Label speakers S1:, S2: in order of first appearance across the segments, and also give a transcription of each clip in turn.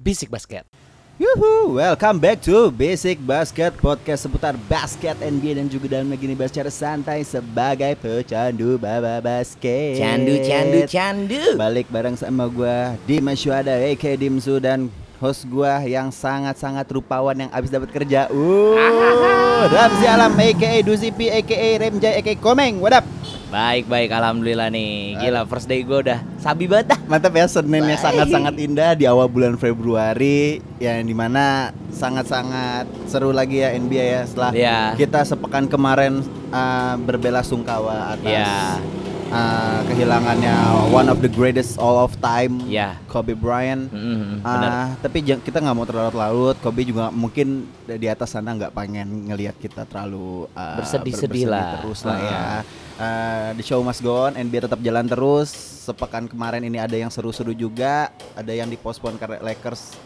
S1: Bisik Basket.
S2: Yuhu, welcome back to Basic Basket Podcast seputar basket NBA dan juga dalam negeri secara santai sebagai pecandu baba basket.
S3: Candu, candu, candu.
S2: Balik bareng sama gua Dimas Syuada aka Dimsu dan host gua yang sangat-sangat rupawan yang abis dapat kerja. Uh, Ramzi Alam aka Duzipi aka Remjay aka Komeng. What up?
S3: Baik, baik. Alhamdulillah nih. Gila, first day gue udah sabi banget dah.
S2: Mantap ya Senin yang sangat-sangat indah di awal bulan Februari ya, yang dimana sangat-sangat seru lagi ya NBA ya setelah
S3: Iya.
S2: kita sepekan kemarin uh, berbela sungkawa atas
S3: Iya.
S2: uh, kehilangannya one of the greatest all of time
S3: Iya.
S2: Kobe Bryant.
S3: Mm,
S2: Ah,
S3: bener.
S2: tapi jang- kita nggak mau terlalu larut. Kobe juga mungkin di atas sana nggak pengen ngelihat kita terlalu ah,
S3: Bersedih-sedih
S2: bersedih
S3: lah.
S2: terus lah
S3: Ah.
S2: ya. Ah, the show must go on, NBA tetap jalan terus. Sepekan kemarin ini ada yang seru-seru juga, ada yang dipospon karena Lakers.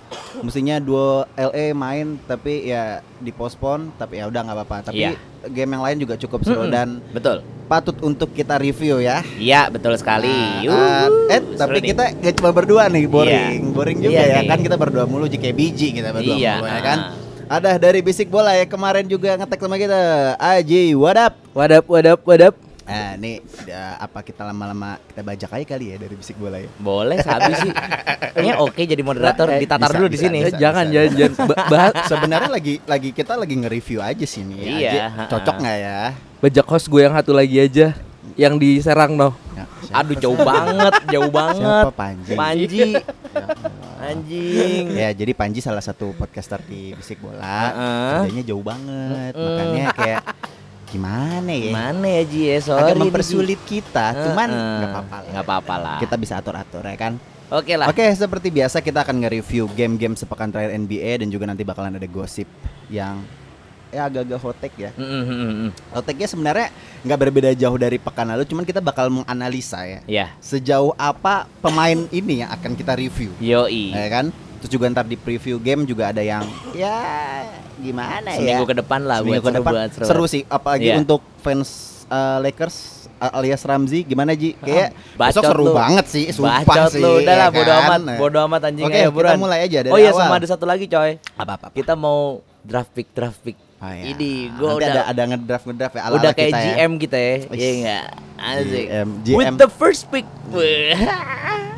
S2: Mestinya dua LA main, tapi ya dipospon. Tapi ya udah nggak apa-apa. Tapi
S3: Iya.
S2: game yang lain juga cukup
S3: Mm-mm.
S2: seru dan
S3: Betul.
S2: patut untuk kita review ya.
S3: Iya, betul sekali.
S2: Nah, ah,
S3: Yuhu,
S2: eh tapi
S3: seru nih.
S2: kita gak cuma berdua nih, boring. Boring juga
S3: Iya
S2: ya
S3: nih.
S2: kan kita berdua mulu JKBJ kita berdua
S3: Iya,
S2: mulu ya kan.
S3: ah.
S2: Ada dari Bisik Bola ya kemarin juga ngetek sama kita. Aji, what up?
S1: Wadap, wadap, wadap.
S2: Nah, nih ya, apa kita lama-lama kita bajak aja kali ya dari Bisik Bola ya.
S3: Boleh sabi sih. Kayaknya oke jadi moderator
S2: Eh,
S3: ditatar
S2: bisa,
S3: dulu di
S2: bisa,
S3: sini.
S2: bisa.
S1: Eh, jangan, jangan, jangan. Ba- bahas-
S2: Sebenarnya lagi lagi kita lagi nge-review aja sih nih.
S3: Iya,
S2: Aji.
S3: ah.
S2: cocok nggak ya?
S1: Bajak host gue yang satu lagi aja, yang diserang noh.
S2: Ya, siapa-
S3: Aduh, jauh banget, jauh banget.
S2: Siapa Panji?
S3: Panji,
S2: Ya Allah.
S3: anjing.
S2: Ya jadi Panji salah satu podcaster di Bisik Bola
S3: Heeh.
S2: Kerjanya jauh banget
S3: Heeh.
S2: Makanya kayak gimana ya
S3: Gimana ya Ji ya? Sorry
S2: Agak
S3: nih, Ji.
S2: mempersulit kita Cuman
S3: Eh, eh.
S2: nggak apa-apa lah
S3: Nggak apa-apa lah.
S2: Kita bisa atur-atur ya kan
S3: Oke lah.
S2: Oke seperti biasa kita akan nge-review game-game sepekan terakhir NBA Dan juga nanti bakalan ada gosip yang ya agak-agak hotek ya
S3: Mm, mm, mm, mm.
S2: Hoteknya sebenarnya nggak berbeda jauh dari pekan lalu Cuman kita bakal menganalisa ya
S3: Ya,
S2: Sejauh apa pemain ini yang akan kita review
S3: yoi.
S2: ya kan terus juga ntar di preview game juga ada yang ya gimana
S3: Seminggu
S2: ya
S3: ke depan lah
S2: Seminggu
S3: buat seru,
S2: depan.
S3: buat seru.
S2: seru sih apalagi
S3: Iya.
S2: untuk fans eh, Lakers eh, alias Ramzi gimana Ji kayak
S3: Ah, Bacot
S2: besok seru
S3: lu.
S2: banget sih sumpah
S3: Bacot
S2: sih
S3: lu, udah lah
S2: ya
S3: bodo
S2: kan?
S3: amat,
S2: Nah.
S3: bodo amat anjing
S2: Oke,
S3: ayo
S2: kita
S3: buruan.
S2: mulai aja dari
S3: Oh iya
S2: awal.
S3: sama ada satu lagi coy.
S2: apa apa apa.
S3: Kita mau draft pick draft pick.
S2: Ah,
S3: Gitu.
S2: ya.
S3: Ini gua
S2: Nanti
S3: udah
S2: ada ada ngedraft ngedraft ya ala
S3: udah kayak
S2: kita ya.
S3: GM kita ya.
S2: Wis.
S3: Iya enggak? Asik.
S2: GM.
S3: With the first pick. Wih.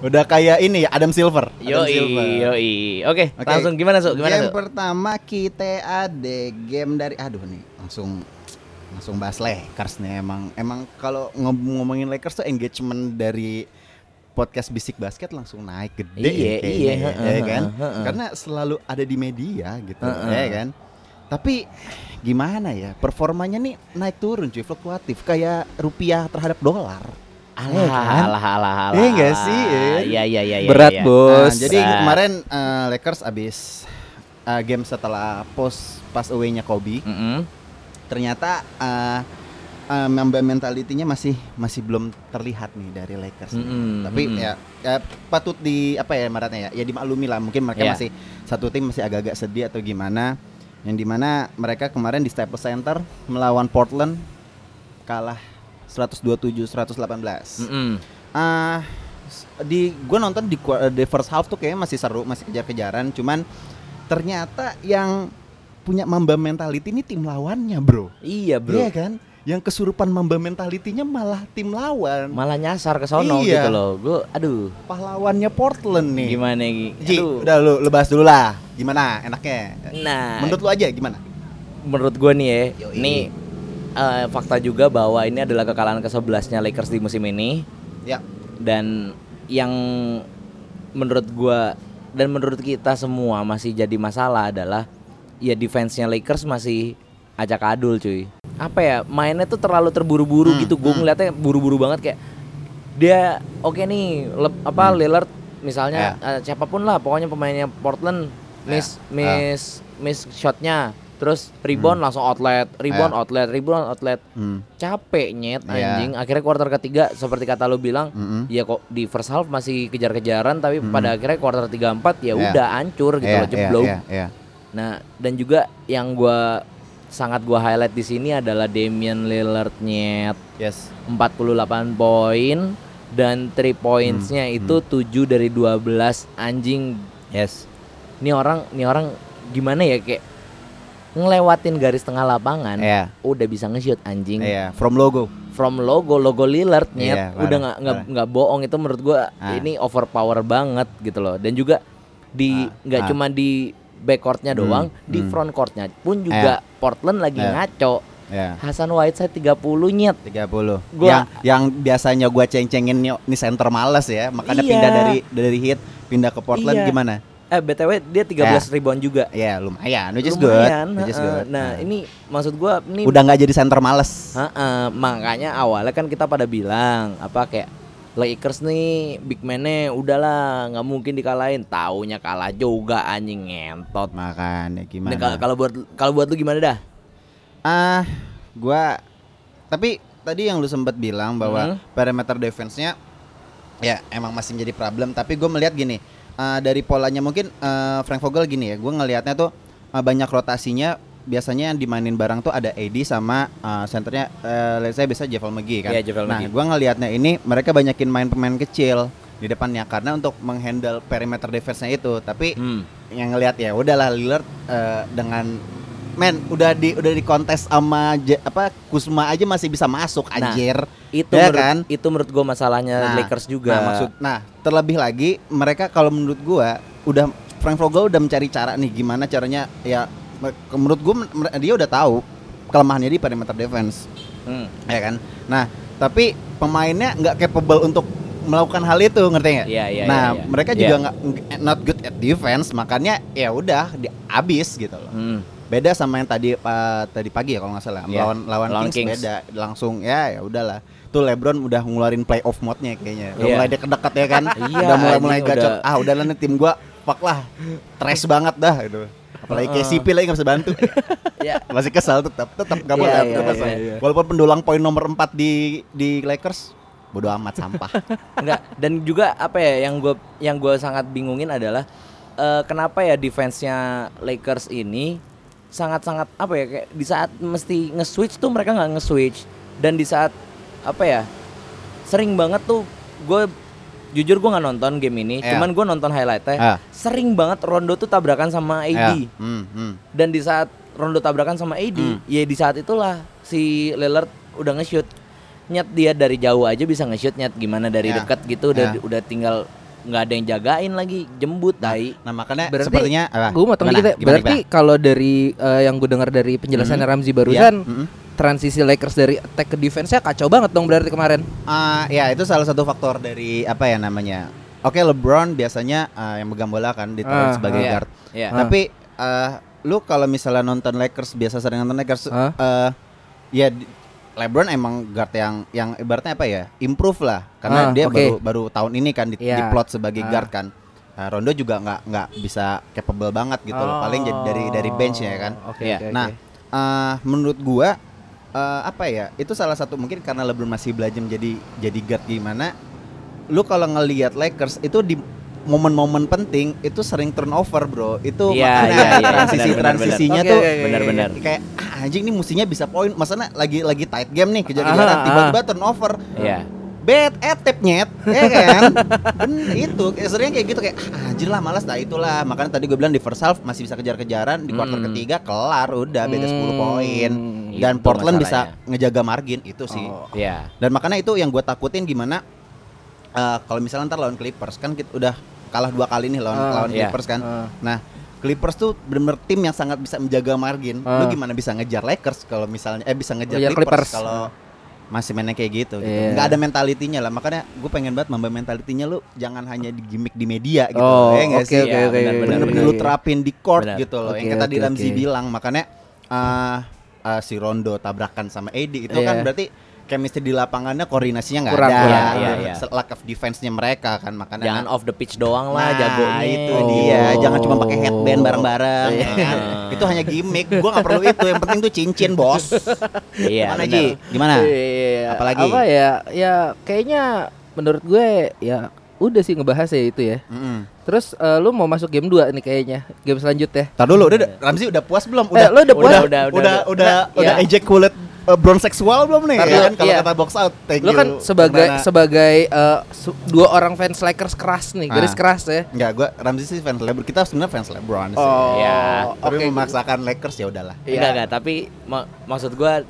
S2: udah kayak ini ya, Adam Silver Adam
S3: yoi,
S2: Silver.
S3: yoi. Oke,
S2: Oke.
S3: langsung gimana, Su? Gimana,
S2: game
S3: Su?
S2: pertama kita ada game dari aduh nih langsung langsung bahas Lakers nih emang emang kalau ngom- ngomongin Lakers tuh engagement dari podcast bisik basket langsung naik gede
S3: Iya,
S2: kayaknya,
S3: iya,
S2: ya,
S3: heeh,
S2: ya kan
S3: heeh, heeh.
S2: karena selalu ada di media gitu
S3: Heeh.
S2: ya kan tapi gimana ya performanya nih naik turun cuy fluktuatif kayak rupiah terhadap dolar
S3: Alah,
S2: kan?
S3: alah, alah, alah.
S2: Iya nggak sih, Iya?
S3: Iya, iya, iya, iya.
S1: Berat
S3: iya.
S1: bos.
S2: Nah, jadi
S3: Nah.
S2: kemarin eh, Lakers abis eh, game setelah post pass away-nya Kobe,
S3: Mm-mm.
S2: ternyata eh, eh, member mentalitinya masih masih belum terlihat nih dari Lakers.
S3: Mm-mm.
S2: Tapi
S3: Mm-mm.
S2: ya, ya patut di apa ya maratnya ya, ya dimaklumi lah. Mungkin mereka
S3: Iya.
S2: masih satu tim masih agak-agak sedih atau gimana. Yang dimana mereka kemarin di Staples Center melawan Portland kalah 127-118.
S3: Mm-mm.
S2: Ah, s- di gue nonton di, qua- di first half tuh kayaknya masih seru, masih kejar-kejaran. Cuman ternyata yang punya mamba mentality ini tim lawannya, bro.
S3: Iya, Bro.
S2: Iya kan? Yang kesurupan mamba mentalitinya malah tim lawan,
S3: Malah nyasar ke sono
S2: Iya.
S3: gitu loh. Gua aduh,
S2: pahlawannya Portland nih.
S3: gimana Gi?
S2: Ji,
S3: Aduh.
S2: udah lu lebas dulu lah. Gimana enaknya?
S3: Nah,
S2: Menurut lu aja gimana?
S3: menurut gue nih ya,
S2: Yoi.
S3: ini eh, fakta juga bahwa ini adalah kekalahan ke-11-nya Lakers di musim ini
S2: Ya.
S3: dan yang menurut gue dan menurut kita semua masih jadi masalah adalah ya defense-nya Lakers masih acak adul cuy. Apa ya, mainnya tuh terlalu terburu-buru
S2: Hmm,
S3: gitu. Gue
S2: hmm.
S3: ngeliatnya buru-buru banget kayak dia oke nih lep- apa
S2: Hmm.
S3: Lillard misalnya eh, siapapun lah pokoknya pemainnya Portland miss
S2: Ya,
S3: miss miss shotnya terus rebound langsung outlet rebound
S2: Hmm. Ya.
S3: outlet rebound outlet
S2: Hmm.
S3: capek nyet
S2: Ya.
S3: anjing akhirnya quarter ketiga seperti kata lu bilang
S2: Mm-mm.
S3: ya kok di first half masih kejar-kejaran tapi
S2: Hmm.
S3: pada akhirnya quarter 3 4 ya
S2: Ya.
S3: udah hancur gitu
S2: Iya,
S3: loh
S2: iya,
S3: jeblok
S2: iya, iya.
S3: Nah, dan juga yang gua sangat gua highlight di sini adalah Damian Lillard nyet
S2: Yes.
S3: 48 poin
S2: Hmm,
S3: dan 3 points-nya itu 7 dari 12 anjing.
S2: Yes.
S3: nih orang nih orang gimana ya kayak ngelewatin garis tengah lapangan
S2: Iya.
S3: udah bisa nge-shoot anjing
S2: Iya, from logo.
S3: from logo logo Lillard nyet
S2: Iya,
S3: udah
S2: parah,
S3: nggak nggak
S2: parah.
S3: nggak bohong itu menurut gua
S2: Ah.
S3: ini overpower banget gitu loh dan juga di
S2: Ah,
S3: nggak
S2: ah.
S3: cuma di backcourtnya
S2: Hmm,
S3: doang di
S2: hmm.
S3: front courtnya pun juga Portland lagi
S2: Iya.
S3: ngaco
S2: Iya.
S3: Hasan Whiteside 30 nyet
S2: 30.
S3: Gua-
S2: yang yang biasanya gua ceng-cengin nih nih center males ya, makanya
S3: Iya.
S2: pindah dari dari hit pindah ke Portland
S3: Iya.
S2: gimana?
S3: eh btw dia 13 ribuan juga
S2: Ya, lumayan, which is
S3: Lumayan,
S2: good. Which is
S3: heeh.
S2: good. Ah.
S3: nah ini maksud gua ini
S2: udah nggak jadi center males.
S3: Heeh, makanya awalnya kan kita pada bilang apa kayak Lakers nih big man-nya udahlah nggak mungkin dikalahin. Taunya kalah juga anjing ngentot.
S2: Makanya gimana?
S3: Nah, kalau- kalau buat kalau buat lu gimana dah?
S2: Ah, gua tapi tadi yang lu sempat bilang bahwa
S3: Mhm.
S2: perimeter defense-nya ya emang masih menjadi problem, tapi gue melihat gini, eh, dari polanya mungkin eh, Frank Vogel gini ya, gua ngelihatnya tuh eh, banyak rotasinya biasanya yang dimainin bareng tuh ada AD sama eh, senternya eh, let's say biasa Javel McGee kan.
S3: Iya, Javel
S2: nah,
S3: McGee.
S2: gua ngelihatnya ini mereka banyakin main pemain kecil di depannya karena untuk menghandle perimeter defense-nya itu, tapi
S3: Hmm.
S2: yang ngelihat ya udahlah Lillard eh, dengan men udah di udah di kontes sama J- apa Kusma aja masih bisa masuk
S3: Nah,
S2: anjir.
S3: Itu
S2: Iya
S3: menurut,
S2: kan?
S3: itu menurut gua masalahnya
S2: Nah,
S3: Lakers juga.
S2: Nah, maksud nah, terlebih lagi mereka kalau menurut gua udah Frank Vogel udah mencari cara nih gimana caranya ya mer- menurut gua mer- dia udah tahu kelemahannya di perimeter defense,
S3: Hmm.
S2: ya kan? Nah, tapi pemainnya nggak capable untuk melakukan hal itu, ngerti nggak?
S3: Iya, iya,
S2: nah,
S3: iya, iya.
S2: mereka
S3: Iya.
S2: juga nggak not good at defense, makanya ya udah di abis gitu loh.
S3: Hmm.
S2: beda sama yang tadi eh, tadi pagi ya kalau nggak salah
S3: Iya,
S2: lawan lawan
S3: lawan
S2: Kings,
S3: Kings.
S2: beda langsung ya ya udahlah tuh LeBron udah ngeluarin playoff mode-nya kayaknya udah
S3: Iya.
S2: mulai deket-deket ya kan
S3: Iya,
S2: udah mulai mulai
S3: anjing,
S2: gacor
S3: udah.
S2: ah udahlah nih tim gua fuck lah trash banget dah gitu apalagi
S3: Heeh.
S2: KCP lagi nggak bisa bantu
S3: Ya.
S2: masih kesal tetap tetap nggak
S3: Iya,
S2: boleh
S3: iya,
S2: tetap
S3: iya,
S2: kesal.
S3: iya.
S2: walaupun pendulang poin nomor 4 di di Lakers bodo amat sampah
S3: Enggak, dan juga apa ya yang gua yang gua sangat bingungin adalah eh, kenapa ya defense-nya Lakers ini sangat-sangat apa ya kayak di saat mesti nge-switch tuh mereka nggak nge-switch dan di saat apa ya sering banget tuh gue jujur gue nggak nonton game ini
S2: Iya.
S3: cuman gue nonton highlightnya
S2: Ah.
S3: sering banget Rondo tuh tabrakan sama AD
S2: Ya, hmm, hmm.
S3: dan di saat Rondo tabrakan sama AD, ya di saat itulah si Lillard udah nge-shoot. Nyet dia dari jauh aja bisa nge-shoot nyet gimana dari
S2: Ya.
S3: dekat gitu udah
S2: Ya.
S3: udah tinggal nggak ada yang jagain lagi, jembut tai.
S2: nah makanya
S1: Berarti
S2: sepertinya ah,
S1: Gue motong
S2: gimana?
S1: dikit ya.
S2: Gimana,
S1: Berarti kalau dari eh, yang gue dengar dari penjelasan Ramzi barusan,
S2: Iya, mm-mm.
S1: transisi Lakers dari attack ke defense-nya kacau banget dong berarti kemarin.
S2: Ah, ya itu salah satu faktor dari apa ya namanya. Oke, LeBron biasanya ah, yang megang bola kan ditaruh
S1: Ah,
S2: sebagai
S3: ah.
S2: guard.
S3: Iya.
S1: Ah.
S2: Tapi ah, lu kalau misalnya nonton Lakers biasa sering nonton Lakers
S1: Ah.
S2: eh, ya di- LeBron emang guard yang yang ibaratnya apa ya? improve lah karena
S1: Ah,
S2: dia
S1: oke.
S2: baru baru tahun ini kan di,
S1: Iya.
S2: diplot sebagai
S1: Ah.
S2: guard kan. Ah, Rondo juga nggak nggak bisa capable banget gitu loh. Paling jadi dari dari bench ya kan.
S1: Oh, Oke.
S3: Iya.
S1: oke,
S2: Nah,
S1: oke.
S2: eh, menurut gua eh, apa ya? Itu salah satu mungkin karena LeBron masih belajar jadi jadi guard gimana. Lu kalau ngelihat Lakers itu di momen-momen penting itu sering turnover, Bro. Itu
S3: Iya,
S2: makanya
S3: iya, iya,
S2: transisi-transisinya
S1: benar,
S2: tuh
S1: benar, benar. Oke, oke, oke,
S3: Benar-benar.
S2: kayak ah, anjing nih mestinya bisa poin. Masalahnya lagi lagi tight game nih kejar-kejaran
S1: Ah,
S2: tiba-tiba turnover.
S3: Iya.
S2: Bad etep nyet, ya kan? Ben, itu kayak seringnya kayak gitu kayak ah, anjir lah malas nah itulah. Makanya tadi gue bilang di first half masih bisa kejar-kejaran, di quarter
S3: Hmm.
S2: ketiga kelar udah beda 10 poin.
S1: Hmm.
S3: Itu
S2: Dan Portland bisa
S3: masalahnya.
S2: ngejaga margin itu sih.
S1: Oh.
S3: Iya.
S2: Dan makanya itu yang gue takutin gimana eh, kalau misalnya ntar lawan Clippers kan kita udah kalah dua kali nih lawan
S1: Ah,
S2: lawan
S3: iya.
S2: Clippers kan.
S1: Ah.
S2: Nah, Clippers tuh bener-bener tim yang sangat bisa menjaga margin. Lu
S1: Ah.
S2: gimana bisa ngejar Lakers kalau misalnya eh bisa ngejar
S1: Ngejar
S2: Clippers,
S1: Clippers. Ah.
S2: kalau masih mainnya kayak gitu, gitu.
S1: Iya.
S2: nggak ada mentalitinya lah makanya gue pengen banget nambah mentalitinya lu jangan hanya di gimmick di media gitu
S1: Oh,
S2: ya nggak
S1: oke
S2: sih?
S1: oke
S3: Iya,
S1: oke.
S3: benar, benar,
S2: bener-bener lu terapin di court
S3: Benar.
S2: gitu loh yang
S1: Oke,
S2: kayak tadi
S1: oke,
S2: Ramzi
S1: oke.
S2: bilang makanya ah, ah, si Rondo tabrakan sama Edi itu kan
S1: Iya.
S2: berarti chemistry di lapangannya koordinasinya nggak
S1: Kurang,
S2: ada
S1: kurang,
S3: Iya,
S2: gitu.
S3: iya, iya.
S2: lack of defense-nya mereka kan makanya
S3: Jangan off the pitch doang lah
S2: Nah,
S3: jago Oh.
S2: itu dia. Jangan cuma pakai headband bareng-bareng. ya
S3: Iya.
S2: kan? itu hanya gimmick. Gua nggak perlu itu. Yang penting tuh cincin, Bos.
S3: Iya.
S2: Gimana,
S3: benar.
S2: Ji? Gimana?
S1: Iya.
S2: Nah, Apalagi?
S1: Apa ya? Ya kayaknya menurut gue ya udah sih ngebahas ya itu ya.
S2: Mm-mm.
S1: Terus eh, lu mau masuk game 2 nih kayaknya. Game selanjutnya.
S2: Tar dulu, udah Ramzi udah puas belum?
S1: Eh, lu Iya. udah puas?
S2: Udah, udah, udah, udah,
S1: Nah, ya.
S2: ejaculate eh, brown seksual belum nih?
S1: Ntar
S2: ya
S1: dulu,
S2: kan kalau
S1: iya.
S2: kata box out. Thank
S1: Lo
S2: you.
S1: kan sebagai
S2: Gimana?
S1: sebagai eh, su- dua orang fans Lakers keras nih, garis
S2: Ah.
S1: keras ya.
S2: Enggak, gua Ramzi sih fans LeBron. Kita sebenarnya fans LeBron sih.
S1: Oh,
S3: Ya,
S2: Tapi
S1: oke.
S2: memaksakan Lakers ya udahlah.
S1: Iya.
S3: Enggak enggak, tapi ma- maksud gua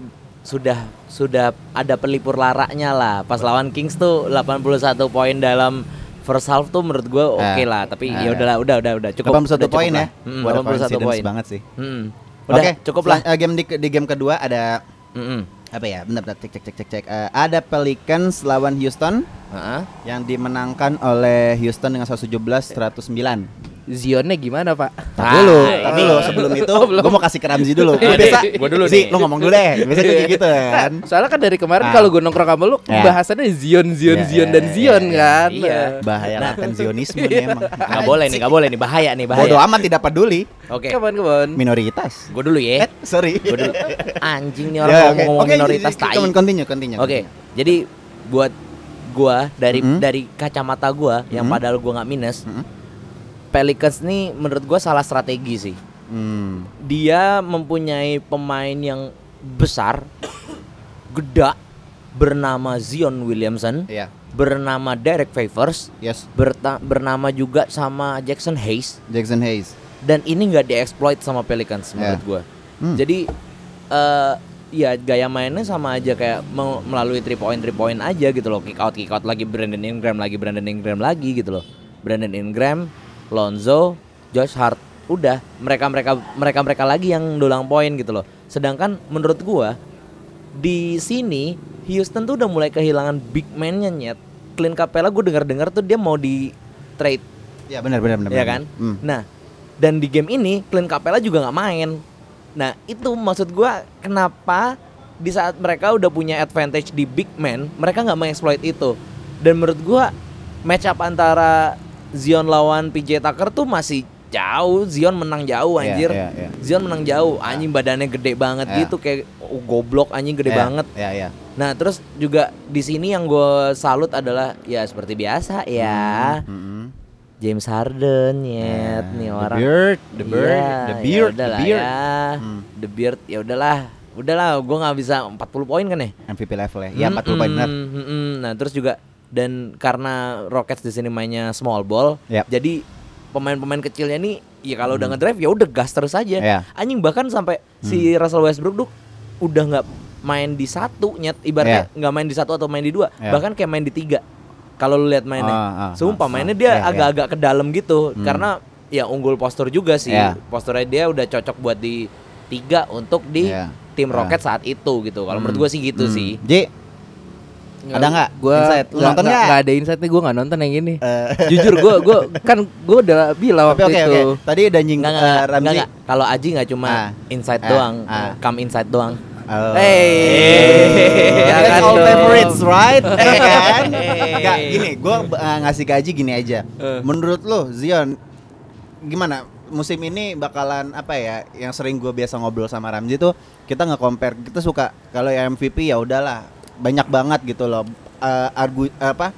S3: sudah sudah ada pelipur laranya lah. Pas lawan Kings tuh 81 poin dalam first half tuh menurut gua oke
S2: Eh,
S3: lah, tapi
S2: eh.
S3: ya udahlah udah udah udah cukup. udah
S2: 81
S3: cukup
S2: poin
S3: lah.
S2: ya.
S3: Mm,
S2: What a
S3: 81
S2: coincidence
S3: poin.
S2: banget sih.
S3: Mm. Udah
S2: Oke,
S3: cukup lah.
S2: selan- eh, game di, di game kedua ada
S3: Mm-mm.
S2: apa ya? Bentar, bentar cek cek cek cek cek. Eh, ada Pelicans lawan Houston
S3: Heeh.
S2: yang dimenangkan oleh Houston dengan 117 109.
S1: Zionnya gimana pak?
S2: Tar dulu,
S3: Ah,
S2: tar
S3: ini.
S2: dulu sebelum itu
S1: Oh, belum.
S2: gue mau kasih ke Ramzi dulu.
S3: Iya,
S2: Gua biasa
S3: nih, gua dulu
S2: Zi,
S3: nih. Iya.
S2: lu ngomong dulu deh. Biasa gue kayak gitu kan.
S1: Soalnya kan dari kemarin
S2: Ah.
S1: kalau gue nongkrong sama lu
S2: Ya.
S1: bahasannya Zion, Zion,
S2: Ya,
S1: Zion
S2: ya,
S1: dan
S2: ya,
S1: Zion
S2: ya,
S1: kan.
S3: iya.
S2: Bahaya akan Zionisme nih emang.
S3: Enggak Iya. boleh nih, enggak boleh nih, bahaya nih, bahaya.
S2: Bodoh amat tidak peduli.
S3: Oke.
S1: Kapan kapan?
S2: Minoritas.
S3: Gua dulu ya.
S2: Eh, sorry.
S3: Gua dulu. Anjing nih
S2: Ya,
S3: orang
S2: oke.
S3: ngomong
S2: Oke,
S3: minoritas
S2: jadi-
S3: tai.
S2: Come on, continue, continue.
S3: Oke, jadi buat gua dari
S2: Mhm.
S3: dari kacamata gua yang
S2: Mhm.
S3: padahal gua nggak minus,
S2: Mhm.
S3: Pelicans nih menurut gua salah strategi sih.
S2: continue. Hmm.
S3: Dia mempunyai pemain yang besar, geda, bernama Zion Williamson,
S2: Iya.
S3: bernama Derek Favors,
S2: Yes.
S3: berta- bernama juga sama Jackson Hayes,
S2: Jackson Hayes.
S3: dan ini nggak dieksploit sama Pelicans menurut
S2: Ya.
S3: gua.
S2: Hmm.
S3: Jadi eh ya gaya mainnya sama aja kayak me- melalui three point three point aja gitu loh. Kick out kick out lagi Brandon Ingram lagi Brandon Ingram lagi gitu loh. Brandon Ingram, Lonzo, Josh Hart. Udah, mereka-mereka mereka-mereka lagi yang dolang poin gitu loh. Sedangkan menurut gua di sini Houston tuh udah mulai kehilangan big man-nya nyet. Clint Capella gue dengar-dengar tuh dia mau di trade
S2: Ya benar benar benar.
S3: ya
S2: benar.
S3: kan?
S2: Hmm.
S3: Nah, dan di game ini Clint Capella juga nggak main. Nah, itu maksud gua kenapa di saat mereka udah punya advantage di big man, mereka nggak mengeksploit itu. Dan menurut gua match up antara Zion lawan PJ Tucker tuh masih jauh. Zion menang jauh
S2: Iya,
S3: anjir.
S2: iya, iya.
S3: Zion menang jauh, anjing badannya gede banget
S2: Ya.
S3: gitu kayak oh, goblok anjing gede
S2: Ya,
S3: banget.
S2: Ya ya.
S3: Nah, terus juga di sini yang gue salut adalah ya seperti biasa ya.
S2: Hmm.
S3: James Harden nyet
S2: Nah,
S3: nih
S2: the
S3: orang.
S2: beard, the beard, the beard, the
S3: the
S2: beard.
S3: Ya.
S2: Hmm.
S3: The beard ya udahlah. Udahlah, gua nggak bisa 40 poin kan ya?
S2: MVP level ya. Ya 40
S3: Mm-mm,
S2: poin benar.
S3: mm-mm. Nah, terus juga dan karena Rockets di sini mainnya small ball,
S2: Yap.
S3: jadi pemain-pemain kecilnya nih ya kalau
S2: Mm.
S3: udah ngedrive ya udah gas terus aja.
S2: Ya.
S3: Anjing bahkan sampai si
S2: Mm.
S3: Russell Westbrook tuh udah nggak main di satu nyet ibaratnya
S2: Iya.
S3: nggak main di satu atau main di dua,
S2: Ya.
S3: bahkan kayak main di tiga. Kalau lu lihat mainnya,
S2: Ah, ah,
S3: sumpah
S2: ah,
S3: mainnya
S2: ah.
S3: dia
S2: Ya, ya.
S3: agak-agak ke dalam gitu
S2: Hmm.
S3: karena ya unggul postur juga sih.
S2: Ya.
S3: Posturnya dia udah cocok buat di tiga untuk di
S2: Ya.
S3: tim
S2: Ya.
S3: Rocket saat itu gitu. Kalau menurut gua sih gitu
S2: Hmm.
S3: sih.
S2: Ji, ada nggak?
S1: Gue
S2: Insight. Lu nonton nggak?
S1: ada insight nih gue nggak nonton yang ini. Jujur gue gue kan gue udah bilang
S2: Tapi
S1: waktu
S2: oke
S1: itu.
S2: oke. Tadi udah nying
S3: Enggak
S2: eh,
S3: enggak
S2: Ramzi.
S3: enggak. Kalau Aji nggak cuma
S2: Ah.
S3: inside
S2: Ah.
S3: doang,
S2: Ah.
S3: come inside doang.
S2: Oh.
S1: Eh,
S2: That's
S1: jangan
S2: all
S1: dong.
S2: favorites, right? Eh kan?
S3: Eh.
S2: Enggak, gini, gua eh, ngasih gaji gini aja. Menurut lo, Zion gimana? Musim ini bakalan apa ya? Yang sering gue biasa ngobrol sama Ramzi tuh, kita nggak compare. Kita suka kalau yang MVP ya udahlah, banyak banget gitu loh. Eh, argu apa?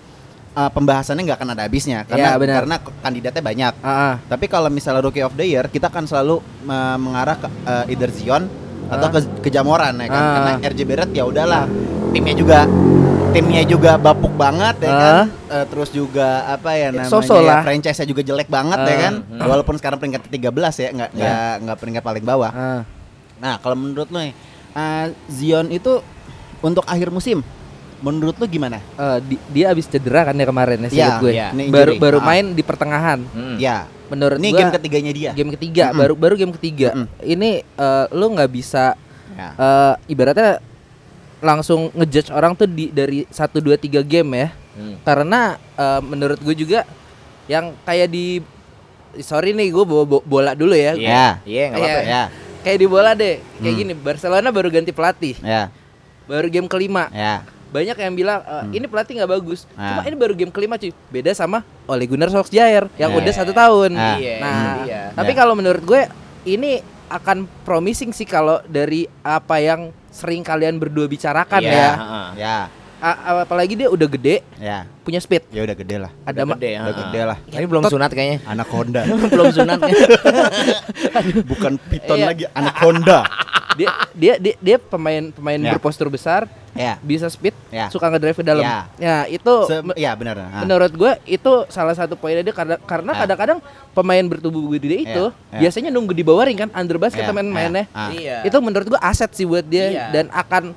S2: eh, pembahasannya nggak akan ada habisnya karena
S1: Iya, benar.
S2: karena k- kandidatnya banyak.
S1: Ah, ah.
S2: Tapi kalau misalnya Rookie of the Year, kita akan selalu eh, mengarah ke eh, either Zion atau
S1: Ah.
S2: ke, ke Jamoran ya kan.
S1: Ah.
S2: Karena RJ Barrett ya udahlah, timnya juga timnya juga bapuk banget ya kan.
S1: Ah.
S2: Eh, terus juga apa ya
S1: Eh,
S2: namanya
S1: so-so lah.
S2: franchise-nya juga jelek banget ya
S1: Ah.
S2: kan. Walaupun sekarang peringkat 13 ya, nggak nggak nggak peringkat paling bawah.
S1: ah.
S2: Nah, kalau menurut lo nih, eh, Zion itu untuk akhir musim menurut lo gimana?
S1: Eh, di- dia abis cedera kan ya kemarin ya, seingat
S2: Iya,
S1: gue.
S2: iya. Ini injury.
S1: Baru baru
S2: Ah.
S1: main di pertengahan.
S3: Hmm.
S2: Ya,
S1: Menurut
S2: ini
S1: gua,
S2: game ketiganya dia.
S1: game ketiga,
S2: Mm-mm.
S1: baru baru game ketiga.
S2: Mm-mm.
S1: Ini eh, lu nggak bisa
S2: Ya.
S1: eh, ibaratnya langsung ngejudge orang tuh di dari 1 2 3 game ya.
S3: Hmm.
S1: Karena eh, menurut gue juga yang kayak di sorry nih gue bawa bo- bola dulu ya.
S2: Iya.
S3: Iya, enggak apa-apa.
S1: Iya.
S2: Ya,
S1: Kayak di bola deh. Kayak
S2: Hmm.
S1: gini, Barcelona baru ganti pelatih.
S2: ya,
S1: Baru game kelima.
S2: ya.
S1: Banyak yang bilang e,
S2: Hmm.
S1: ini pelatih nggak bagus. Cuma
S2: Ah.
S1: ini baru game kelima cuy. Beda sama Ole Gunnar Solskjaer yang
S2: Nah.
S1: udah satu tahun.
S2: Ah.
S3: Iya,
S1: Nah,
S3: itu dia.
S1: tapi
S2: Nah.
S1: kalau menurut gue ini akan promising sih kalau dari apa yang sering kalian berdua bicarakan
S3: Iya,
S1: ya.
S3: heeh.
S2: Ya,
S1: A- apalagi dia udah gede,
S2: ya.
S1: punya speed.
S2: Ya udah gede lah.
S1: Ada
S3: Udah
S1: ma-
S3: gede,
S2: Udah
S3: heeh.
S2: gede lah.
S3: Tapi belum sunat kayaknya.
S2: Anak Honda.
S3: belum sunat kayaknya.
S2: Bukan Piton
S1: Iya.
S2: lagi, anak Honda.
S1: dia, dia dia dia pemain pemain
S2: Ya.
S1: berpostur besar,
S2: Ya.
S1: bisa speed,
S2: Ya.
S1: suka ngedrive ke dalam.
S2: Ya.
S1: Ya, itu
S2: Se-
S1: me-
S2: ya benar. ah.
S1: menurut gue itu salah satu poinnya dia karena karena
S2: Ya.
S1: kadang-kadang pemain bertubuh gede itu
S2: Ya, ya.
S1: biasanya nunggu di bawah ring kan under basket
S2: Ya,
S1: teman
S2: ya,
S1: mainnya.
S2: ah.
S3: Iya.
S1: Itu menurut gue aset sih buat dia
S3: Iya.
S1: dan akan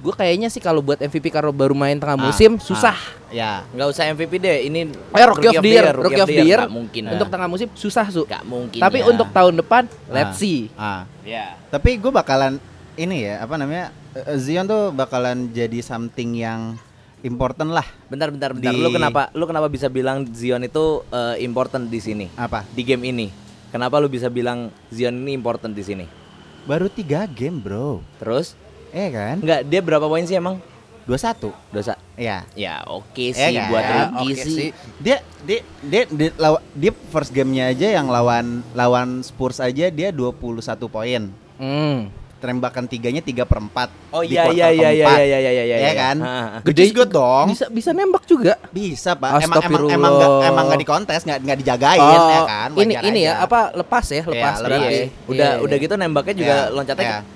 S1: gue kayaknya sih kalau buat MVP kalau baru main tengah
S2: Ah,
S1: musim
S2: ah.
S1: susah.
S2: Ya.
S3: nggak usah MVP deh, ini
S1: Eh, Rookie of the Year, Rookie of the Year.
S3: Nggak mungkin.
S1: Untuk tengah musim susah su.
S3: nggak mungkin. ya.
S1: Tapi untuk tahun depan
S2: Ah.
S1: let's see.
S2: Ah.
S3: ya.
S2: Tapi gue bakalan ini ya apa namanya eh, Zion tuh bakalan jadi something yang important lah
S3: Bentar, bentar, bentar.
S2: Di-
S3: Lu kenapa lu kenapa bisa bilang Zion itu eh, important di sini?
S2: apa?
S3: Di game ini. Kenapa lu bisa bilang Zion ini important di sini?
S2: Baru tiga game bro,
S3: Terus?
S2: eh kan?
S3: Enggak, dia berapa poin sih emang?
S2: 21
S3: Dosa.
S2: Ya.
S3: Ya, oke
S2: Eh,
S3: sih
S2: nggak?
S3: buat
S2: Ya,
S3: rookie
S1: oke
S3: sih.
S1: sih.
S2: Dia dia dia dia, lawa- dia first gamenya aja yang lawan lawan Spurs aja dia 21 poin.
S1: Hmm.
S2: Tembakan tiganya 3 per 4
S3: Oh iya iya iya iya iya iya iya iya.
S2: Iya kan?
S3: Ha, ha.
S2: Gede good dong.
S1: Bisa bisa nembak juga.
S2: Bisa,
S3: Ah,
S2: Pak. Emang emang
S1: Astagfirullah.
S2: emang gak, emang gak dikontes, gak, gak dijagain
S1: Oh,
S2: ya kan?
S1: ini
S2: Wajar
S1: ini ya
S2: aja.
S1: apa lepas ya lepas
S2: Iya,
S1: berarti.
S3: Iya. Udah
S1: Iya,
S3: udah
S1: iya.
S3: gitu nembaknya juga
S2: Iya,
S3: loncatnya
S2: iya.
S3: ke-